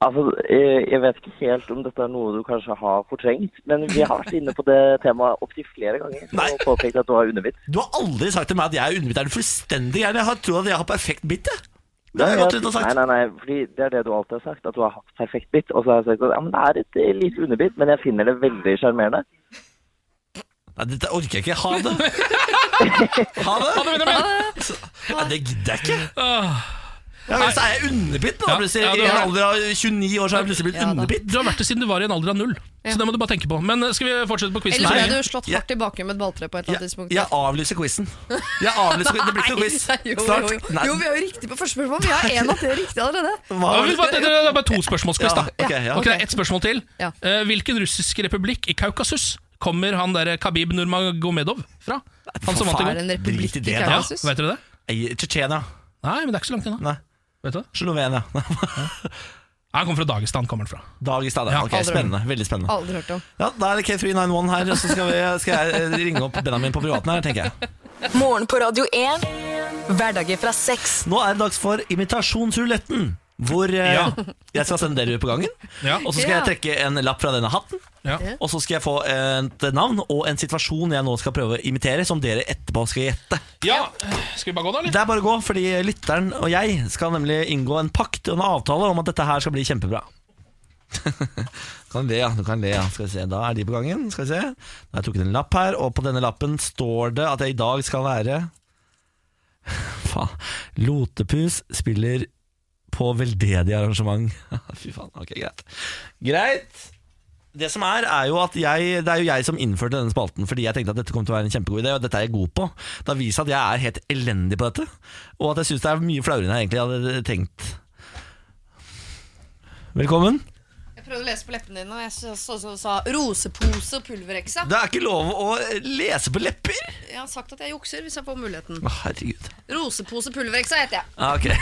Altså, eh, Jeg vet ikke helt om dette er noe du kanskje har fortrengt, men vi har vært inne på det temaet opptil flere ganger. Og påpekt at du har underbitt.
Du har aldri sagt til meg at jeg er underbitt. Er du fullstendig gæren? Jeg har trodd at jeg har perfekt bitt, jeg. Det har jeg gått rundt og sagt.
Nei, nei, nei, fordi det er det du alltid har sagt, at du har hatt perfekt bit. Og så har jeg sagt at ja, men det er et eh, lite underbit, men jeg finner det veldig sjarmerende.
Nei, dette orker jeg ikke. Ha det. Ha det.
Ha det, Benjamin.
Ja, det gidder jeg ikke.
Åh.
Ja, men så er jeg underbitt nå.
Ja,
plutselig.
ja, du
I en
har-
alder av 29 år så har jeg plutselig blitt underbitt.
Du har vært det siden du var i en alder av null. Så det må du bare tenke på. Men eh, skal vi fortsette på quizen?
Ellers ble
Nei.
du slått hardt i baken med et balltre på et eller annet tidspunkt.
Jeg avlyser quizen. Jeg avlyser quizen. Det blir ikke noe quiz.
Nei, jo, jo,
Snart.
jo.
Nei.
jo, vi er jo riktig på første spørsmål. Vi har én av tre riktig allerede.
Ja, men bare- Det det er bare to spørsmålsquiz, da.
Ja, ok, ja.
Ok, det er Ett spørsmål til. Eh, Hvilken russisk republikk i Kaukasus kommer han der Khabib Nurmagomedov fra? Han som vant i
faen,
går.
en republikk Drit i det, i da.
Ja,
Kaukasus?
vet dere det?
I Tsjetsjenia.
Nei, men det er ikke så langt unna. Vet du det?
Slovenia.
Nei, Han kommer fra Dagestan. kommer han fra
Dagestan, ja. Ok,
aldri.
spennende. Veldig spennende.
Aldri hørt om.
Ja, Da er det K391 her, og så skal, vi, skal jeg eh, ringe opp Benjamin på privaten her, tenker jeg.
Morgen på Radio 1. Hverdager fra seks.
Nå er det dags for imitasjonsruletten, hvor eh,
Ja.
jeg skal sende dere ut på gangen.
Ja.
Og så skal jeg trekke en lapp fra denne hatten.
Ja.
Og så skal jeg få et navn og en situasjon jeg nå skal prøve å imitere, som dere etterpå skal gjette.
Ja, Skal vi bare gå, da? eller?
Det er bare å gå, fordi lytteren og jeg skal nemlig inngå en pakt og en avtale om at dette her skal bli kjempebra. kan le, ja. Du kan le, ja. Skal vi se. Da er de på gangen. Skal vi se. Da har jeg trukket en lapp her, og på denne lappen står det at jeg i dag skal være Faen. Lotepus spiller på veldedig arrangement. Fy faen. Ok, greit. Greit. Det som er, er jo at jeg, det er jo jeg som innførte denne spalten, fordi jeg tenkte at dette kom til å være en kjempegod idé, og dette er jeg god på. Det har vist seg at jeg er helt elendig på dette, og at jeg syns det er mye flauere enn jeg egentlig hadde tenkt. Velkommen.
Jeg prøvde å lese på leppene dine, og jeg så- så- så- sa rosepose og pulverekse.
Det er ikke lov å lese på lepper!
Jeg har sagt at jeg jukser hvis jeg får muligheten.
Å, herregud.
Rosepose pulvereksa heter jeg.
Ja, Ah, ok.
Ai,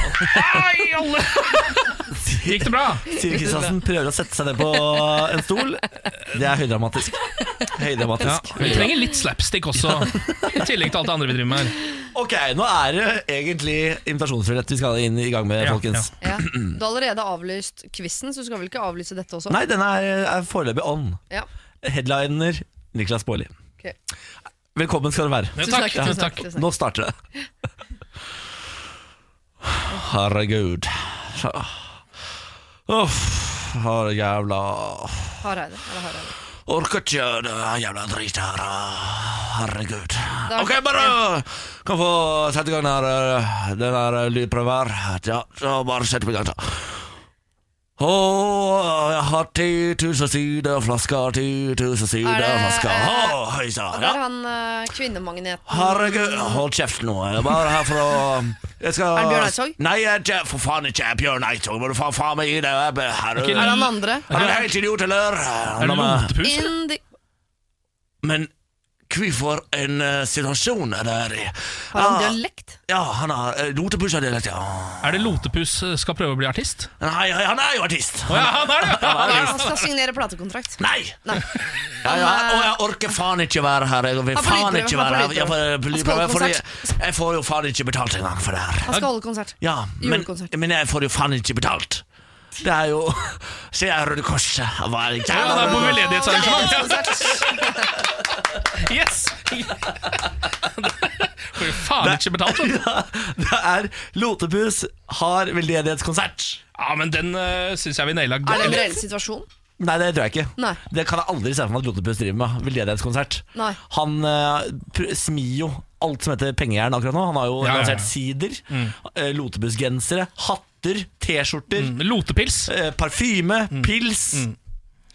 alle! Gikk det bra?
Siri Kristiansen prøver å sette seg ned på en stol. Det er høydramatisk.
Ja,
Høydramatisk.
vi trenger litt slapstick også, i tillegg til alt det andre vi driver med her.
Ok, nå er det egentlig invitasjonsrulett vi skal inn i gang med,
Ja,
folkens.
Ja. Du har allerede avlyst quizen, så du skal vel ikke avlyse dette også?
Nei, den er, er foreløpig on.
Ja.
Headliner Niklas Baarli.
Ok.
Velkommen skal du være.
Ja, takk. Tusen takk, tusen takk, tusen takk.
Nå starter det. Herregud. Uff, har jævla
Hareide. Eller Hareide.
Orker ikke det jævla drit her. Herregud.
Det har
Ok,
vært-
bare kan få sette i gang den her, eh, den her lydprøven her. Ja, så bare sett i gang, da. Å, jeg har 10 000 sider flasker, 10 000 sider flasker. Å, høy sann,
Og
ja.
der er han eh, kvinnemagneten.
Herregud, hold kjeft nå. Jeg er bare her for å jeg skal...
Er det Bjørn Eidsvåg?
Nei, jeg er ikke, for faen ikke jeg er Bjørn Eidsvåg. Må du faen faen meg gi deg. Jeg er- Herregud.
Er han andre?
Er du helt idiot, eller?
Er det
La meg-
lotepus?
Indi
Men hvorfor en eh, situasjon er der i.
Har han
Ah,
dialekt?
Ja, han har eh, lotepus-dialekt, ja.
Er det Lotepus eh, skal prøve å bli artist?
Nei, han er jo artist!
ja, han er det! ja.
Han er
Han
artist.
skal signere platekontrakt.
Nei! Ja, ja, og jeg orker faen ikke være her. Jeg vil
Han får
faen ikke
lydprøve, han får
være her. Jeg, får
lydprøve.
eh,
Han skal
lydprøve,
holde
fordi
konsert.
jeg får jo faen ikke betalt engang for det her.
Han skal holde konsert.
Ja, men,
Julekonsert.
men jeg får jo faen ikke betalt. Det er jo Se her, Røde Korset. Hva er det
Ja, det er på veldedighetsarrangement. Yes!
Får jo faen ikke betalt, Det er Lotepus har veldedighetskonsert.
Ja, men den uh, syns jeg vi naila
Er det en
godt.
reell situasjon?
Nei, det tror jeg ikke.
Nei.
Det kan jeg aldri se for meg at Lotepus driver med. Veldedighetskonsert.
Nei.
Han eh, pr- smir jo alt som heter pengejern akkurat nå. Han har jo
Ja, Mm. ja, ja.
lansert sider, eh, Lotepus-gensere, hatter, T-skjorter.
Mm.
eh,
Lotepils.
parfyme,
Mm.
pils.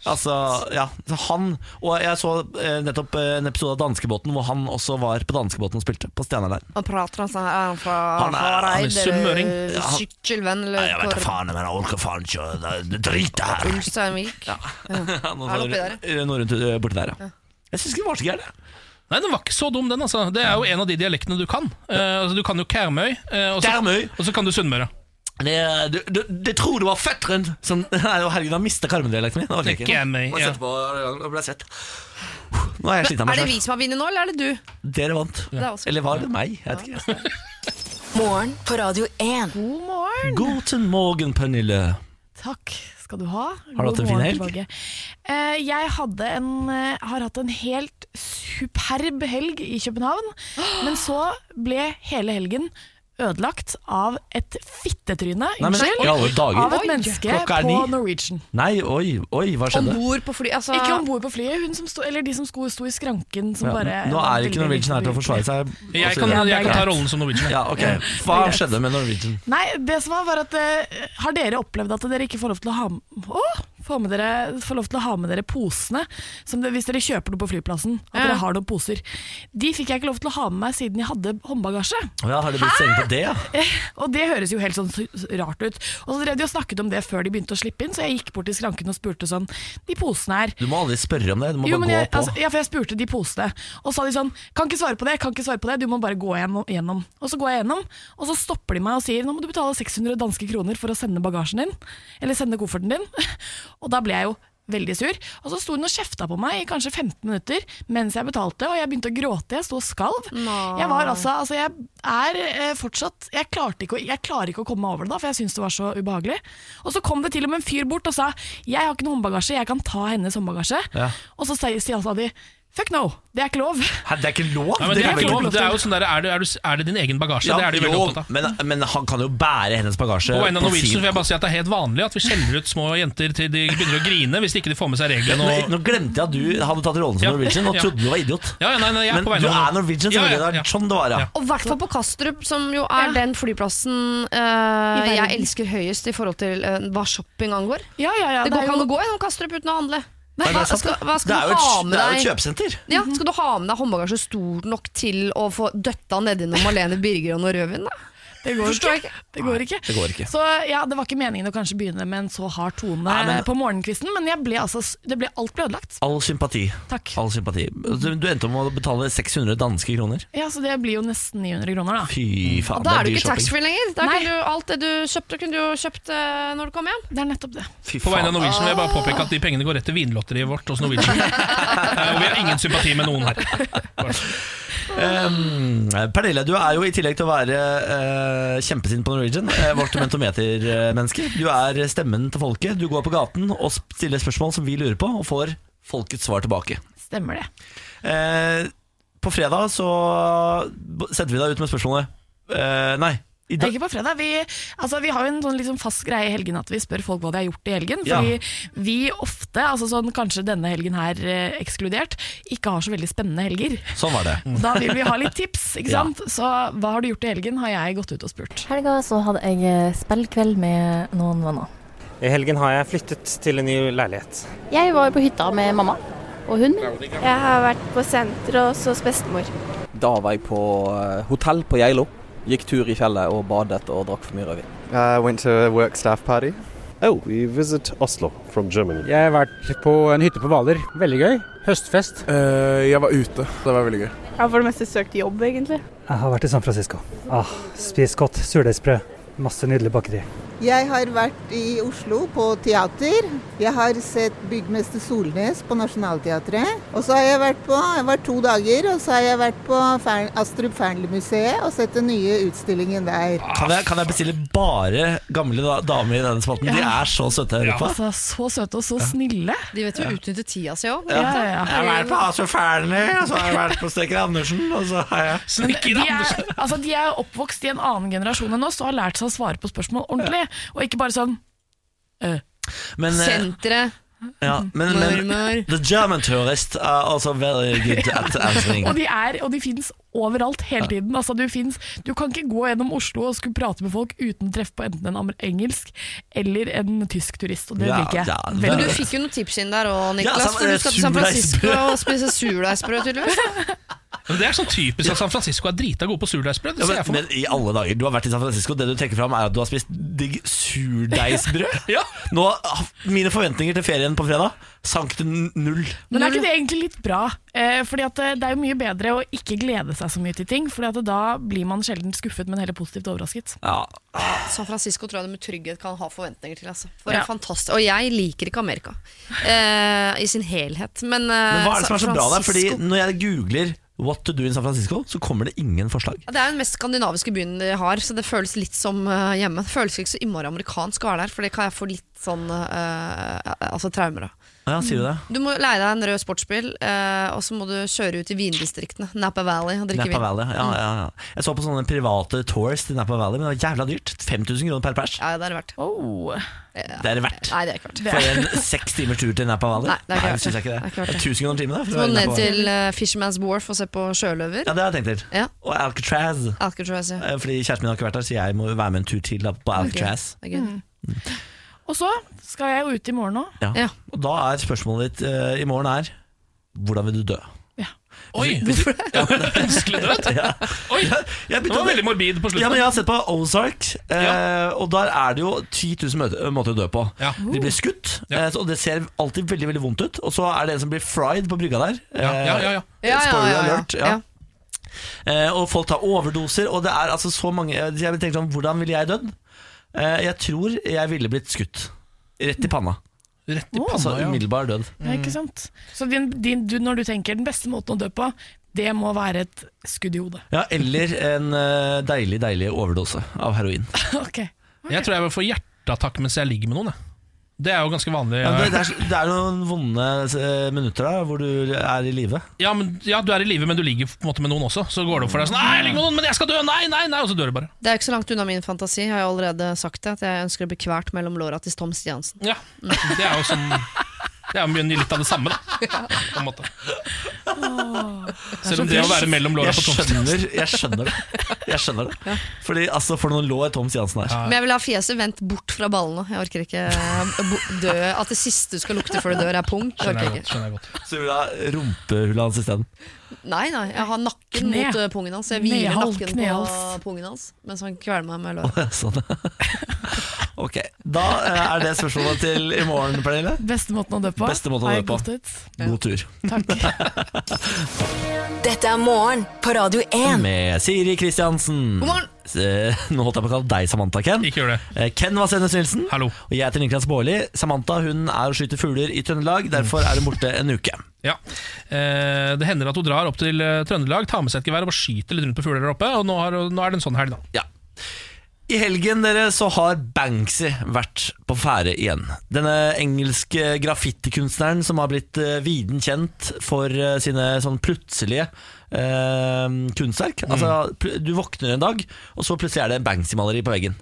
Altså, ja, så han Og jeg så eh, nettopp eh, en episode av Danskebåten hvor han også var på Danskebåten og spilte på Stjerneleiren.
Han prater altså Er han fra eh,
Han er- han er
Hareid?
sunnmøring.
eller
Ja, han-
Sykkelvenn? Eller
Nei, jeg vet da
Kåre-
faen, men jeg orker faen ikke å det- drite her.
Ulsteinvik? Ja.
Noe
Er det oppi der,
sånn- noe rundt eh, borti der, ja. Jeg syns ikke det var så gærent.
Nei, den var ikke så dum, den. altså Det er jo en av de dialektene du kan. Eh, altså, du kan jo Kermøy, eh, og, så, og så kan du Sunnmøre.
Det, du, du, det tror det var fetteren som Nei, å, herregud, han mista karmendialekten min. Det orker jeg
Ikke jeg meg,
Må
ja.
sette på, nå ble jeg svett. Nå er jeg sliten av
Er
meg
det
selv.
vi som har vunnet nå, eller er det du?
Dere vant.
Det er også-
Eller var det meg? Jeg vet ikke.
Morgen på Radio 1.
God morgen.
Guten morgen, Pernille.
Takk skal du ha.
Har du hatt en fin helg?
Eh, jeg hadde en, eh, har hatt en helt superb helg i København, men så ble hele helgen ødelagt av et fittetryne
Nei, men
unnskyld,
i alle dager.
av
Oi.
et menneske
Klokka er
på
ni.
Norwegian.
Nei, oi, oi, hva skjedde?
på flyet?
altså-
Ikke om bord på flyet, hun som sto, eller de som sto, sto i skranken som
Ja,
bare
nå er ikke Norwegian her til å forsvare seg.
Jeg
også-
kan-
Ja,
jeg
det er
kan ta
greit.
rollen som Norwegian, jeg.
Ja, ok.
Ja,
Hva
det er greit.
skjedde med Norwegian?
Nei, det som var, var at eh, Har dere opplevd at dere ikke får lov til å ha, å, få med dere, får lov til å ha med dere posene? Som det, hvis dere kjøper noe på flyplassen. At
Ja.
dere har noen poser De fikk jeg ikke lov til å ha med meg siden jeg hadde håndbagasje.
Å ja, har det blitt strenge på det, ja?
Eh, Og det høres jo helt sånn s- rart ut. Og så drev de og snakket om det før de begynte å slippe inn, så jeg gikk bort til skranken og spurte sånn De posene her
Du må aldri spørre om det. Du må
jo,
bare gå
men jeg,
på.
altså, ja, for jeg spurte de posene, og så sa de sånn Kan ikke svare på det, kan ikke svare på det, du må bare gå gjennom. gjennom. Og så går jeg gjennom, og så stopper de meg og sier nå må du betale 600 danske kroner for å sende bagasjen din. Eller sende kofferten din. Og da ble jeg jo veldig sur. Og så sto hun og kjefta på meg i kanskje 15 minutter mens jeg betalte, og jeg begynte å gråte, jeg sto og skalv.
Nei.
Jeg var altså, altså jeg er eh, fortsatt Jeg klarte ikke, å- jeg klarer ikke å komme meg over det da, for jeg syns det var så ubehagelig. Og så kom det til og med en fyr bort og sa jeg har ikke noe håndbagasje, jeg kan ta hennes håndbagasje.
Ja.
Og så sier sier altså de Fuck no, det er ikke lov.
Hæ, det er ikke lov!
Nei, men det er
veldig-
ikke lov. Det er jo sånn der, er, det, er, du, er det din egen bagasje?
Ja,
det er de veldig
jo,
opptatt av.
men, men han kan jo bære hennes bagasje.
På vegne av
på
Norwegian
sin-
vil jeg bare si at det er helt vanlig at vi skjeller ut små jenter til de begynner å grine hvis de ikke får med seg
Nå,
reglene. Og...
nå glemte jeg at du hadde tatt rollen som
Ja.
Norwegian og
Ja.
trodde du var idiot.
Ja, ja, nei, nei, jeg er
men
på vegne
du
av-
er Norwegian,
Ja, ja,
selvfølgelig. Det
ja.
er sånn det var, ja.
Og i hvert fall på Kastrup, som jo er den flyplassen eh,
I verden.
jeg elsker høyest i forhold til eh, hva shopping angår.
Ja, ja, ja,
det
det
går
er
ikke
jo-
an å gå gjennom Kastrup uten å handle.
Nei, det
hva,
er sant,
skal,
det.
hva
Det
skal
er
du
jo et-
ha med
det er
deg?
jo et kjøpesenter.
Ja, skal du ha med deg håndbagasje stor nok til å få døtta nedi noe Malene Birger og noe rødvin? Da?
Det går
Forstår jeg
ikke. Det går ikke.
det går ikke.
Så ja, det var ikke meningen å kanskje begynne med en så hard tone
Nei, men-
på morgenkvisten, men jeg ble altså, s- det ble, alt ble ødelagt.
All sympati. All sympati. Du, du endte opp med å betale 600 danske kroner.
Ja, Så det blir jo nesten 900 kroner, da.
Fy faen,
Da
det
er du
dyr
ikke
shopping.
taxfree lenger. Da kunne du, alt det du kjøpte, kunne du jo kjøpt eh, når du kom hjem.
Det er nettopp det.
Fy
På vegne av Norwegian vil jeg bare
Ah.
påpeke at de pengene går rett til vinlotteriet vårt hos Norwegian. Eh, Og vi har ingen sympati med noen her.
Um, Pernille, du er jo i tillegg til å være eh, kjempesint på Norwegian, eh, vårt mentometermenneske. Du er stemmen til folket. Du går på gaten og stiller spørsmål som vi lurer på, og får folkets svar tilbake.
Stemmer det.
Eh, på fredag så b- sendte vi deg ut med spørsmålet eh, Nei, i
Det er
dag
ikke på fredag. Vi, altså, vi har jo en sånn liksom fast greie i helgen at vi spør folk hva de har gjort i helgen.
Ja.
Fordi vi ofte, altså sånn, kanskje denne helgen her eh, ekskludert, ikke har så veldig spennende helger.
Sånn var
Mm.
det.
Da vil vi ha litt tips, ikke
Ja.
sant? Så hva har du gjort i helgen, har jeg gått ut og spurt.
Helga så hadde jeg eh, spillkveld med noen venner.
I helgen har jeg flyttet til en ny leilighet.
Jeg var på hytta med mamma og hunden min.
Jeg har vært på senteret og hos bestemor.
Da var jeg på eh, hotell på Geilo. Gikk tur i fjellet og badet og drakk for mye rødvin.
I went to a work staff party. Oh, we visit Oslo from Germany. Jeg har vært på en hytte på Hvaler. Veldig gøy.
Høstfest?
Eh, jeg var ute. Det var veldig gøy.
Jeg har for det meste søkt jobb, egentlig.
Jeg har vært i San Francisco. Ah, spist godt. Surdeigsbrød. Masse nydelig bakeri.
Jeg har vært i Oslo på teater. Jeg har sett byggmester Solnes på Nationaltheatret. Og så har jeg vært på jeg var to dager, og så har jeg vært på Fern, Astrup Fearnley-museet og sett den nye utstillingen der.
Kan jeg, kan jeg bestille bare gamle da, damer i denne spalten? De er så søte.
Ja,
Europa.
altså, så søte og så snille.
De vet jo å utnytte tida si òg.
Ja, ja, ja.
Jeg har vært på Astrup Fearnley, og så har jeg vært på Steker Andersen, og så har jeg
Men de er, altså, de er oppvokst i en annen generasjon enn oss og har lært seg å svare på spørsmål ordentlig. Og ikke bare sånn øh.
men, eh,
Senteret.
ja, men, eh, men
Murmur.
The German tourist are also very good at answering.
Og de, er, og de finnes overalt hele tiden. Altså, du, finnes, du kan ikke gå gjennom Oslo og skulle prate med folk uten å treffe på enten en amer- engelsk eller en tysk turist, og det
Ja,
liker jeg.
ja,
veldig
men
Men du
godt.
fikk jo noen tips inn der òg, Niklas.
Ja, San-
for du skal til San Francisco
surdeigsbrød.
og spise surdeigsbrød, tydeligvis.
Men det er sånn typisk at San Francisco er drita gode på
Ja,
surdeigsbrød. Det ser
men,
jeg for meg.
men i alle dager, du har vært i San Francisco. Det du trekker fram, er at du har spist digg surdeigsbrød.
Ja.
Nå, ah, mine forventninger til ferien på fredag sank til n- null.
Men er ikke det egentlig litt bra? Eh, fordi at eh, Det er jo mye bedre å ikke glede seg så mye til ting, Fordi at da blir man sjelden skuffet, men heller positivt overrasket.
Ja.
San Francisco tror jeg du med trygghet kan ha forventninger til. Altså. For
Ja.
en fantastisk, og jeg liker ikke Amerika eh, i sin helhet. Men,
Men
eh,
hva er det som er så
San
bra der? Fordi
Francisco-
når jeg googler 'What to do in San Francisco', så kommer det ingen forslag.
ja, det er jo den mest skandinaviske byen de har, så det føles litt som eh, hjemme. Det føles ikke så innmari amerikansk å være der, for det kan jeg få litt sånn eh, altså traumer av.
Ja, sier du det?
Mm.
Du må leie deg en rød sportsbil, eh, og så må du kjøre ut i vindistriktene, Napa Valley, og drikke
Napa
vin.
Valley. Ja, ja, ja.
Mm.
Jeg så på sånne private tours til Napa Valley, men det var jævla dyrt. 5000 kroner per pers.
Ja, det er det verdt.
Oh.
Det er det verdt.
Nei, det er ikke verdt.
For en seks timers tur til Napa Valley?
Nei, det er ikke verdt
synes jeg
det.
ikke
Det er
det.
ikke verdt det.
1000 kroner timen, da? for
Så
å være
må
i
du
Napa
ned
Valley.
til eh, Fisherman's Wharf og se på sjøløver.
Ja, det har jeg tenkt til.
Ja.
Og Alcatraz.
Alcatraz, ja.
Eh, Fordi kjæresten min har ikke vært der, så jeg må jo være med en tur til da, på Alcatraz.
Det er gøy.
Og så skal jeg jo ut i morgen òg.
Ja.
Ja.
Og da er spørsmålet ditt eh, i morgen er Hvordan vil du dø?
Oi,
Hvorfor
ønskelig død!
Ja.
Oi,
Jeg
Det
begynte
var
å-
veldig morbid
Ja,
på slutten.
men Jeg har sett på Ozark, eh, og der er det jo 10 000 møte- eh, måter å dø på.
Ja.
De blir skutt,
Ja.
eh, så- og det ser alltid veldig veldig vondt ut. Og så er det en som blir fried på brygga der.
Ja,
Eh,
ja, ja, ja.
Ja, ja,
Spoiler
ja, ja.
alert, ja. Eh, og folk tar overdoser, og det er altså så mange Jeg tenkte sånn, hvordan ville jeg dødd? Eh, jeg tror jeg ville blitt skutt. Rett i panna.
Rett i
Altså
panna, ja.
umiddelbar død.
Ja, ikke sant? Så din, din, du, når du tenker den beste måten å dø på, det må være et skudd i hodet.
Ja, eller en eh, deilig, deilig overdose av heroin.
Ok.
Jeg tror jeg vil få hjerteattakk mens jeg ligger med noen. Jeg. Det er jo ganske vanlig.
Ja, men det, det, er, det er noen vonde eh, minutter da, hvor du er i live.
Ja, men, ja, du er i live, men du ligger på en måte med noen også. Så går det opp for deg sånn Nei, jeg ligger med noen, men jeg skal dø! Nei, nei, nei! Og så dør du bare.
Det er ikke så langt unna min fantasi, har jeg allerede sagt det. At jeg ønsker å bli kvert mellom låra til Tom Stiansen.
Ja, Det er jo sånn Det er jo mye litt av det samme, da. På en måte. Selv om det å være mellom låra
Jeg
på tomt
skjønner, jeg skjønner det. Jeg skjønner det. Fordi altså, For noen lår Tom Stiansen er.
Men jeg vil ha fjeset vendt bort fra ballene. Jeg orker ikke eh, bo- dø At det siste du skal lukte før du dør, er pung. Det
Skjønner
orker jeg
jeg godt. skjønner jeg godt
Så vil du ha rumpehullet hans isteden.
ikke. Nei, nei, jeg har nakken
Kne.
mot eh, pungen hans. Jeg hviler
Knehals,
nakken
knehals.
på pungen hans mens han kveler meg med låra.
Sånn. Ok, Da eh, er det spørsmålet til i morgen, Pernille.
Beste måten å dø på.
Beste måten å
Har
dø
jeg
på.
gått ut?
God tur.
Takk.
Dette er morgen på Radio 1.
Med Siri Kristiansen.
God morgen!
Eh, Nå holdt jeg på å kalle deg Samantha Ken.
Ikke gjør det.
Eh, Ken var Sennes Nilsen.
Hallo.
Og jeg heter Niklas Baarli. Samantha hun er og skyter fugler i Trøndelag. Derfor er hun borte en uke.
Ja. Eh, det hender at hun drar opp til eh, Trøndelag, tar med seg et gevær og bare skyter litt rundt på fugler der oppe. Og nå, har, nå er det en sånn helg, da.
I helgen dere, så har Banksy vært på ferde igjen. Denne engelske graffitikunstneren som har blitt eh, viden kjent for eh, sine sånn plutselige eh, kunstverk. Altså, pl- du våkner en dag, og så plutselig er det en Banksy-maleri på veggen.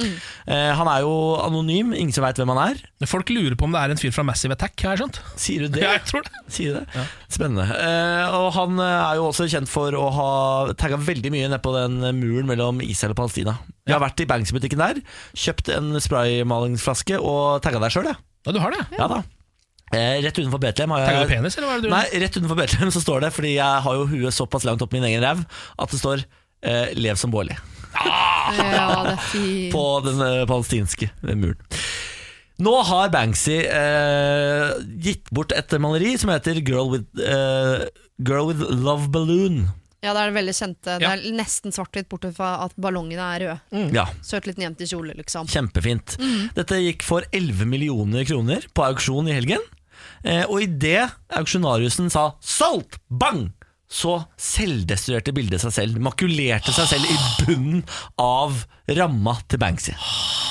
Eh, han er jo anonym, ingen som veit hvem han er.
Men Folk lurer på om det er en fyr fra Massive Attack, har jeg skjønt.
Sier du det?
Ja, jeg tror det.
Sier det? Spennende. Eh, og han eh, er jo også kjent for å ha tagga veldig mye ned på den muren mellom Israel og Palestina. Jeg har vært i Banks-butikken der, kjøpt en spraymalingsflaske og tagga deg sjøl, jeg.
Ja, du har det.
Ja da. Eh, rett utenfor Betlehem har
Tagger du
jeg
penis, eller hva er det du
Eh, Nei, rett utenfor Betlehem så står det, fordi jeg har jo huet såpass langt opp min egen ræv at det står eh, 'Lev som Bårli'
Ja, det er fint.
på den eh, palestinske eh, muren. Nå har Banksy eh, gitt bort et maleri som heter Girl with, eh, Girl with Love Balloon.
Ja, det er det veldig kjente. Det er nesten svart-hvitt, bortsett fra at ballongene er røde.
Ja.
Søt liten jente i kjole, liksom.
Kjempefint.
Mm.
Dette gikk for 11 millioner kroner på auksjon i helgen. Eh, og idet auksjonariusen sa 'solgt', bang! Så selvdestruerte bildet seg selv. Makulerte seg selv i bunnen av ramma til Banksy.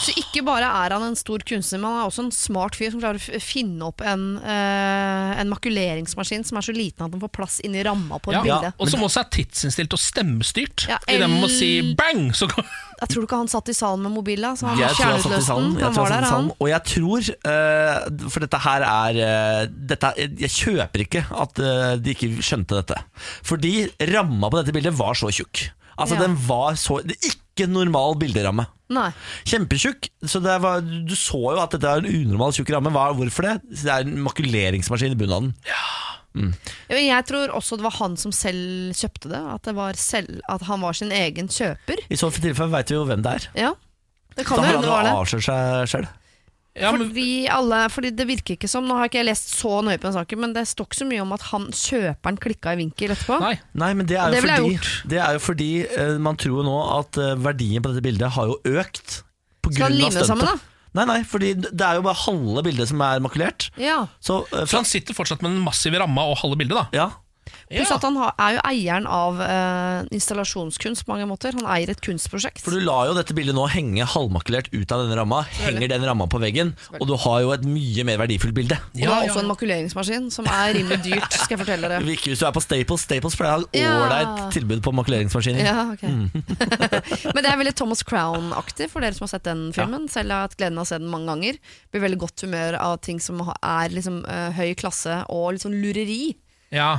Så ikke bare er han en stor kunstner, men han er også en smart fyr som klarer å f- finne opp en, eh, en makuleringsmaskin som er så liten at den får plass inni ramma på et
Ja,
bilde.
og som også er tidsinnstilt og stemmestyrt.
Ja,
I det man må
el-
si bang, så kan
Jeg tror ikke han satt i salen med mobila, så han
Jeg
var
tror han satt i salen.
kjerneløsten.
Jeg
Han
tror han
var der,
satt i
han.
salen. Og jeg tror eh, For dette her er eh, dette, jeg, jeg kjøper ikke at eh, de ikke skjønte dette. Fordi ramma på dette bildet var så tjukk. Altså
Ja.
den var så det er Ikke normal bilderamme.
Nei.
Kjempetjukk. Så det var, du så jo at dette er en unormal tjukk ramme. Hva, hvorfor det? Det er en makuleringsmaskin i bunnen av den.
Ja, men Jeg tror også det var han som selv kjøpte det. At, det var selv, at han var sin egen kjøper.
I så tilfelle veit vi jo hvem det er.
Ja, det
Da
kan jo
har han
hende det
jo
var det.
avslørt seg sjøl.
fordi, alle, fordi det virker ikke som Nå har ikke jeg lest så nøye på den saken, men det står ikke så mye om at han kjøperen klikka i vinkel etterpå.
Nei, men det er
Og
jo
det ville jeg
fordi, det er jo fordi eh, man tror jo nå at eh, verdien på dette bildet har jo økt. På
Skal
grunn
han
av
lime det sammen,
stuntet. Nei, nei, fordi det er jo bare halve bildet som er makulert.
Ja.
Så, eh,
Så han sitter fortsatt med den massive ramma og halve bildet, da.
Pluss at han har, er jo eieren av eh, installasjonskunst på mange måter. Han eier et kunstprosjekt.
For du lar jo dette bildet nå henge halvmakulert ut av denne ramma. Henger den ramma på veggen, og du har jo et mye mer verdifullt bilde.
Og det er også en makuleringsmaskin, som er rimelig dyrt, skal jeg fortelle dere.
Ikke hvis du er på Staples. Staples pleier å ha et
Ja.
ålreit tilbud på makuleringsmaskiner.
Ja, ok.
Mm.
Men det er veldig Thomas Crown-aktig, for dere som har sett den filmen. Selv har jeg hatt gleden av å se den mange ganger. Blir veldig godt humør av ting som ha- er liksom, eh, høy klasse og litt sånn lureri.
Ja.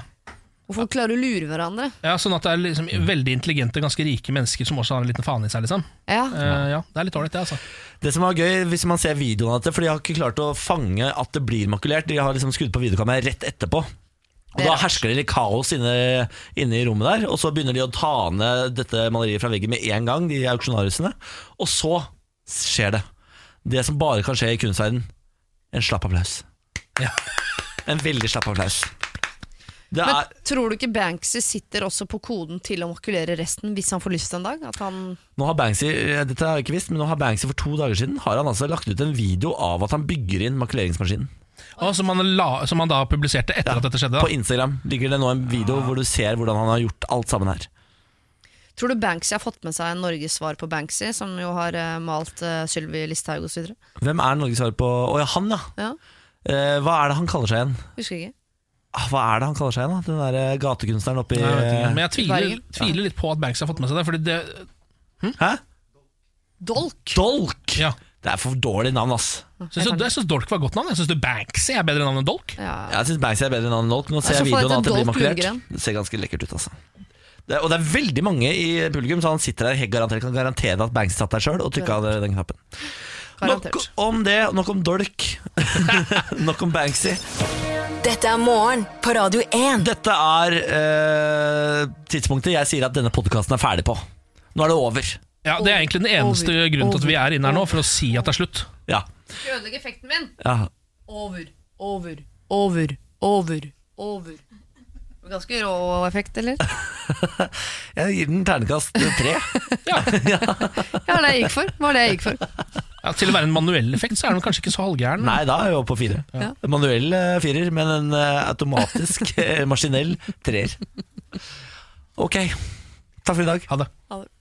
Hvor folk klarer å lure hverandre.
ja, Sånn at det er liksom
Mm.
veldig intelligente, ganske rike mennesker som også har en liten faen i seg, liksom.
Ja.
Eh, ja, det er litt ålreit, det, altså.
Det som var gøy hvis man ser videoen av dette, for de har ikke klart å fange at det blir makulert. De har liksom skrudd på videokameraet rett etterpå. Og
Det er
Da
rart.
hersker det litt kaos inne, inne i rommet der. Og så begynner de å ta ned dette maleriet fra veggen med en gang, de auksjonariusene. Og så skjer det. Det som bare kan skje i kunstverden. En slapp applaus. En veldig slapp applaus. Det
Men
er
tror du ikke Banksy sitter også på koden til å makulere resten hvis han får lyst en dag? At han
Nå har Banksy Dette har jeg ikke visst, men nå har Banksy for to dager siden Har han altså lagt ut en video av at han bygger inn makuleringsmaskinen.
Og som, han la, som han da publiserte etter at dette skjedde. Da.
På Instagram ligger det nå en video
Ah.
hvor du ser hvordan han har gjort alt sammen her.
Tror du Banksy har fått med seg Norges svar på Banksy, som jo har eh, malt uh, Sylvi Listhaug osv.?
Hvem er Norges svar på Å ja, han, ja.
Ja.
Eh, hva er det han kaller seg igjen?
Husker ikke.
Ah, Hva er det han kaller seg igjen, da? Den derre gatekunstneren oppi
Nei, jeg vet ikke. Men jeg tviler,
Bergen. Mm.
tviler litt på at Banks har fått med seg det. Fordi det
Hæ?
Dolk!
Dolk! Det er for dårlig navn, ass.
Synes du, jeg syns Dolk var et godt navn. Jeg syns Banksy er bedre navn enn Dolk.
Jeg syns Banksy er bedre enn Dolk. Nå
Jeg
ser jeg
skal få
videoen
dette
at det blir
Dolk
makulert.
Lundgren.
Det ser ganske lekkert ut, altså. Det er, og det er veldig mange i publikum, så han sitter der helt garantert kan garantere at Banksy satt der sjøl og trykka den knappen. Nok
Garantert.
om det, nok om dolk. nok om Banksy.
Dette er morgen på Radio 1.
Dette er eh, tidspunktet jeg sier at denne podkasten er ferdig på. Nå er det over.
Ja, Det er egentlig den eneste
Over.
grunnen til at vi er inne her nå, for å si at det er slutt.
Ja,
Skal ødelegge effekten min?
ja.
Over, over, over, over, over. Ganske rå effekt, eller?
Jeg gir den ternekast tre.
Ja, det jeg gikk for. Var det jeg gikk for.
Ja, til å være en manuell effekt, så er den kanskje ikke så halvgæren.
Nei, da er jeg oppe på fire.
Ja.
Manuell eh, firer, men en eh, automatisk eh, maskinell treer. Ok. Takk for i dag.
Ha det.
Ha det.